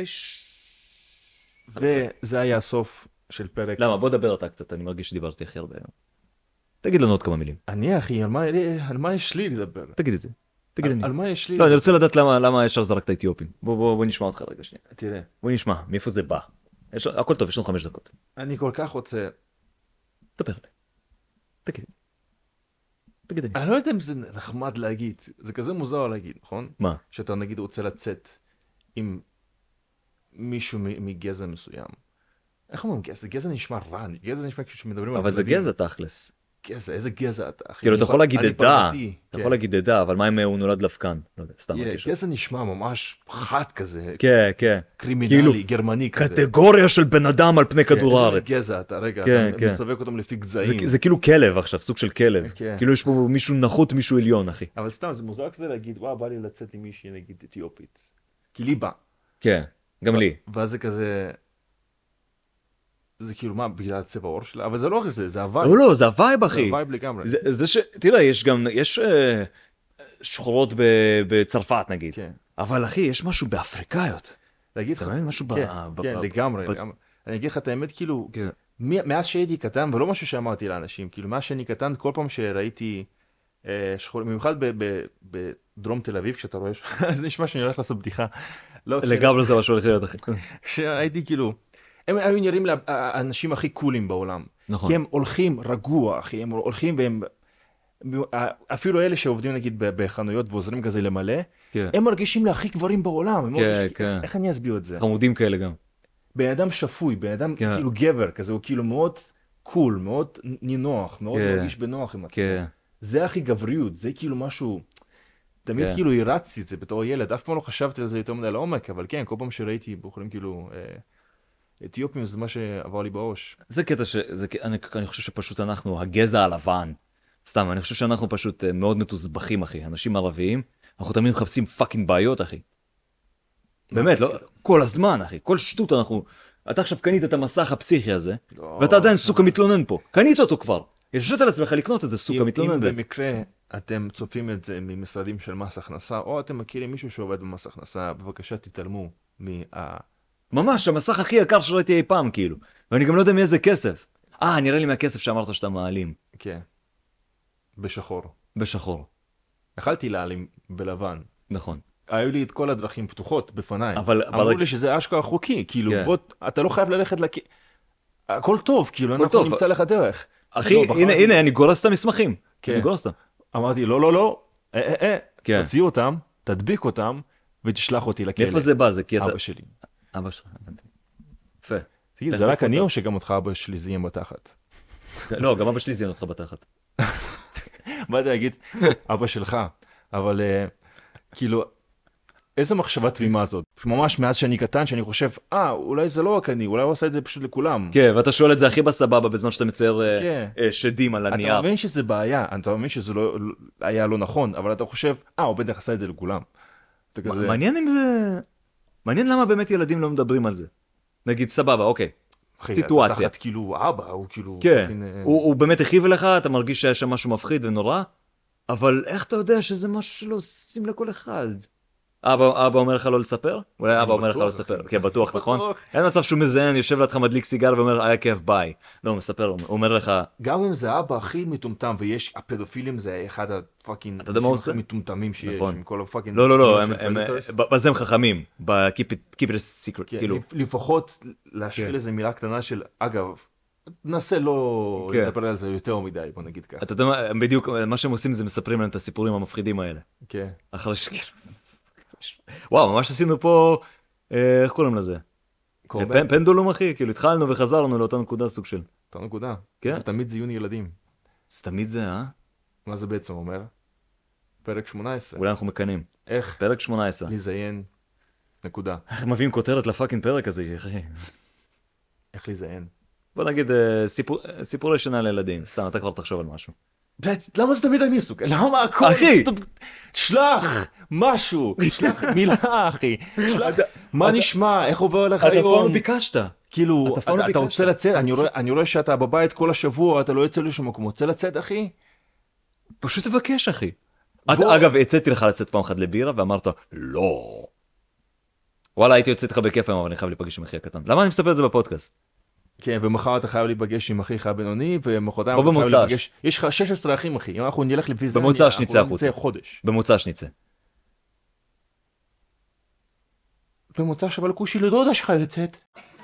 B: אוקיי.
A: וזה היה הסוף של פרק.
B: למה? בוא דבר אתה קצת, אני מרגיש שדיברתי הכי הרבה היום. תגיד לנו עוד כמה מילים,
A: אני, אחי, על מה- על מה יש לי לדבר?
B: תגיד את זה. תגיד
A: על-
B: אני.
A: על מה יש לי?
B: לא, אני רוצה לדעת למה, למה ישר זרקת אתיופים. בוא, בוא, בוא נשמע אותך רגע שנייה.
A: תראה.
B: בוא נשמע, מאיפה זה בא. יש, לנו- הכל טוב, יש לנו חמש דקות.
A: אני כל כך רוצה,
B: דבר עליי. תגיד. תגיד אני.
A: אני לא יודע אם זה נחמד להגיד, זה כזה מוזר להגיד, נכון?
B: מה?
A: שאתה נגיד רוצה לצאת עם מישהו מ- מגזע מסוים. איך אומרים גזע? גזע נשמע רע, גזע נשמע כאילו שמדברים על...
B: אבל זה
A: כלבים.
B: גזע תכלס.
A: גזע, איזה גזע אתה, אחי?
B: כאילו,
A: אני
B: אתה יכול
A: פ-
B: להגיד
A: אני
B: עדה,
A: פרוותי,
B: אתה
A: כן.
B: יכול להגיד עדה, אבל מה אם אה, הוא נולד דווקן? לא יודע, סתם.
A: Yeah,
B: מרגיש.
A: גזע נשמע ממש חד כזה,
B: כן, כן. כאילו,
A: קרימינלי, גרמני כזה.
B: קטגוריה של בן אדם על פני
A: כן,
B: כדור
A: איזה
B: הארץ.
A: גזע אתה, רגע,
B: כן,
A: אתה
B: כן.
A: מסווג אותם לפי
B: זה-
A: גזעים.
B: זה כאילו כלב עכשיו, סוג של כלב.
A: כן.
B: כאילו יש פה מישהו נחות, מישהו עליון, אחי.
A: אבל סתם, זה מוזר כזה להגיד, וואה, בא לי לצאת עם מישהי, נגיד, אתיופית. כי לי בא.
B: כן, גם לי.
A: ואז זה כזה... זה כאילו מה בגלל צבע העור שלה אבל זה לא רק זה זה הווייב,
B: לא, לא, זה הווייב,
A: זה
B: אחי.
A: הווייב לגמרי.
B: זה זה ש... תראה, יש גם, יש אה, שחורות ב- בצרפת, נגיד.
A: כן.
B: אבל אחי, יש משהו באפריקאיות.
A: להגיד לך,
B: אתה מבין משהו ב-
A: כן,
B: ב-
A: כן,
B: ב-
A: לגמרי,
B: ב-
A: לגמרי. אני אגיד לך את האמת כאילו
B: כן.
A: מ- מאז שהייתי קטן ולא משהו שאמרתי לאנשים כאילו מאז שאני קטן כל פעם שראיתי אה, שחור במיוחד ב- ב- בדרום תל אביב כשאתה רואה ש- זה נשמע שאני הולך לעשות בדיחה. לא, כש-
B: לגמרי זה מה שהולך להיות, אחי.
A: כשהייתי כאילו הם היו נראים לי האנשים הכי קולים בעולם
B: נכון.
A: כי הם הולכים רגוע אחי הם הולכים והם אפילו אלה שעובדים נגיד ב- בחנויות ועוזרים כזה למלא,
B: כן.
A: הם מרגישים להכי גברים בעולם. הם
B: כן,
A: מרגישים-
B: כן.
A: איך אני אסביר את זה?
B: חמודים כאלה גם.
A: בן אדם שפוי, בן אדם
B: כן.
A: כאילו גבר כזה, הוא כאילו מאוד קול, מאוד נינוח, מאוד
B: כן.
A: מרגיש בנוח עם עצמו.
B: כן.
A: זה הכי גבריות, זה כאילו משהו... תמיד
B: כן.
A: כאילו הרצתי את זה בתור ילד, אף פעם לא חשבתי על זה יותר מדי לעומק, אבל כן, כל פעם שראיתי בחורים כאילו אה, אתיופים זה מה שעבר לי בראש.
B: זה קטע ש... זה... ק- אני, אני חושב שפשוט אנחנו הגזע הלבן. סתם, אני חושב שאנחנו פשוט אה, מאוד מתוסבכים, אחי. אנשים ערביים, אנחנו תמיד מחפשים פאקינג בעיות, אחי. באמת, לא... כל הזמן, אחי. כל שטות אנחנו... אתה עכשיו קנית את המסך הפסיכי הזה,
A: לא.
B: ואתה עדיין סוכה מתלונן פה. קנית אותו כבר. הרשית לעצמך לקנות את זה, סוכה
A: אם- אם
B: מתלונן. ב-
A: במקרה אתם צופים את זה ממשרדים של מס הכנסה, או אתם מכירים מישהו שעובד במס הכנסה, בבקשה תתעלמו מה...
B: ממש, המסך הכי יקר שראיתי אי פעם, כאילו. ואני גם לא יודע מאיזה כסף. אה, נראה לי מהכסף שאמרת שאתה מעלים.
A: כן. בשחור.
B: בשחור.
A: יכלתי להעלים בלבן.
B: נכון.
A: היו לי את כל הדרכים פתוחות בפניי.
B: אבל-
A: אמרו
B: אבל-
A: לי שזה אשכרה חוקי, כאילו,
B: כן.
A: בוא, אתה לא חייב ללכת לכ... הכל טוב, כאילו,
B: הכל
A: אנחנו
B: טוב.
A: נמצא לך דרך.
B: אחי,
A: לא, בחרתי-
B: הנה, הנה, אני גורס את המסמכים.
A: כן.
B: אני גורס אותם.
A: אמרתי, לא, לא, לא, אה, אה, אה,
B: כן.
A: תוציא אותם, תדביק אותם, ותשלח אותי לכלא.
B: מאיפה זה בא? זה כי אתה...
A: אבא שלי.
B: אבא שלך, הבנתי. יפה.
A: תגיד, זה
B: תדביק
A: רק אני
B: אותם.
A: או שגם אותך אבא שלי זיין בתחת?
B: לא, גם אבא שלי זיין אותך בתחת.
A: באתי להגיד, אבא שלך, אבל אה, כאילו, איזה מחשבה תמימה זאת. ממש מאז שאני קטן, שאני חושב, אה, אולי זה לא רק אני, אולי הוא עשה את זה פשוט לכולם.
B: כן, ואתה שואל את זה הכי בסבבה בזמן שאתה מצייר אה,
A: כן.
B: אה, שדים על
A: אתה
B: הנייר.
A: מבין שזה בעיה, אתה מבין שזה לא לא- היה לא נכון, אבל אתה חושב, אה, הוא בטח עשה את זה לכולם. אתה כזה,
B: מ- מעניין אם זה... מעניין למה באמת ילדים לא מדברים על זה. נגיד, סבבה, אוקיי.
A: אחי, אתה
B: סיטואציה.
A: תחת כאילו אבא, הוא כאילו...
B: כן,
A: מין, אה,
B: הוא הוא באמת הכאיב לך, אתה מרגיש שהיה שם משהו מפחיד ונורא, אבל איך אתה יודע שזה משהו שלא עושים לכל אחד? אבא, אבא אומר לך לא לספר? אולי אבא אומר לך
A: בטוח,
B: לא לספר,
A: אחי.
B: כן בטוח נכון?
A: בטוח.
B: אין מצב שהוא מזיין, יושב לידך מדליק סיגר ואומר היה כיף ביי. לא, הוא מספר, הוא אומר לך,
A: גם אם זה אבא הכי מטומטם, ויש, הפדופילים זה אחד הפאקינג...
B: אתה יודע מה הוא עושה?
A: הכי מטומטמים שיש,
B: נכון.
A: עם כל הפאקינג...
B: לא לא לא, הם-
A: של
B: הם-
A: predators.
B: ב- בזה הם חכמים, ב-keep it- keep it a secret,
A: כן,
B: כאילו,
A: לפ- לפחות להשחיל
B: כן.
A: איזה מילה קטנה של, אגב, ננסה לא
B: כן.
A: לדבר על זה יותר מדי, בוא נגיד ככה.
B: אתה יודע מה, הם בדיוק, מה שהם עושים זה מספרים להם את הסיפורים המפחידים האלה.
A: כן.
B: אחרי שכאילו, וואו, ממש עשינו פה, אה, איך קוראים לזה?
A: קורבן,
B: פ- פנדולום אחי, כאילו התחלנו וחזרנו לאותה נקודה סוג של.
A: אותה נקודה.
B: כן.
A: זה תמיד זיון ילדים.
B: זה תמיד זה, אה?
A: מה זה בעצם אומר? פרק 18.
B: אולי אנחנו מקנאים.
A: איך
B: פרק 18.
A: לזיין, נקודה.
B: איך מביאים כותרת לפאקינג פרק הזה, אחי?
A: איך לזיין.
B: בוא נגיד אה, סיפור- אה, סיפורי שינה לילדים, סתם, אתה כבר תחשוב על משהו.
A: בלת, למה זה תמיד אני עסוק? למה הכל?
B: אחי!
A: אתה- שלח משהו, שלח מילה אחי, שלח, מה נשמע, איך עובר לך
B: אתה אף פעם
A: היום?
B: לא ביקשת.
A: כאילו,
B: אתה אף פעם לא
A: אתה- אתה
B: ביקשת.
A: רוצה לצאת, אני רואה- אני רואה שאתה בבית כל השבוע, אתה לא יוצא לשום מקום, רוצה לצאת אחי?
B: פשוט תבקש, אחי. את-
A: בוא.
B: אגב, הצאתי לך לצאת פעם אחת לבירה ואמרת, לא. וואלה, הייתי יוצא איתך בכיף היום, אבל אני חייב להיפגש עם אחי הקטן. למה אני מספר את זה בפודקאסט?
A: כן, ומחר אתה חייב להיפגש עם אחיך הבינוני, ומחרתיים
B: בוא
A: אתה חייב
B: במוצ"ש.
A: להיפגש, יש לך 16 אחים אחי, אם אנחנו נלך לפי זה, אני-
B: במוצ"ש
A: אנחנו
B: נצא
A: לא
B: החוצה.
A: חודש.
B: במוצא שנצא.
A: במוצ"ש אבל כושי לדודה שלך לצאת.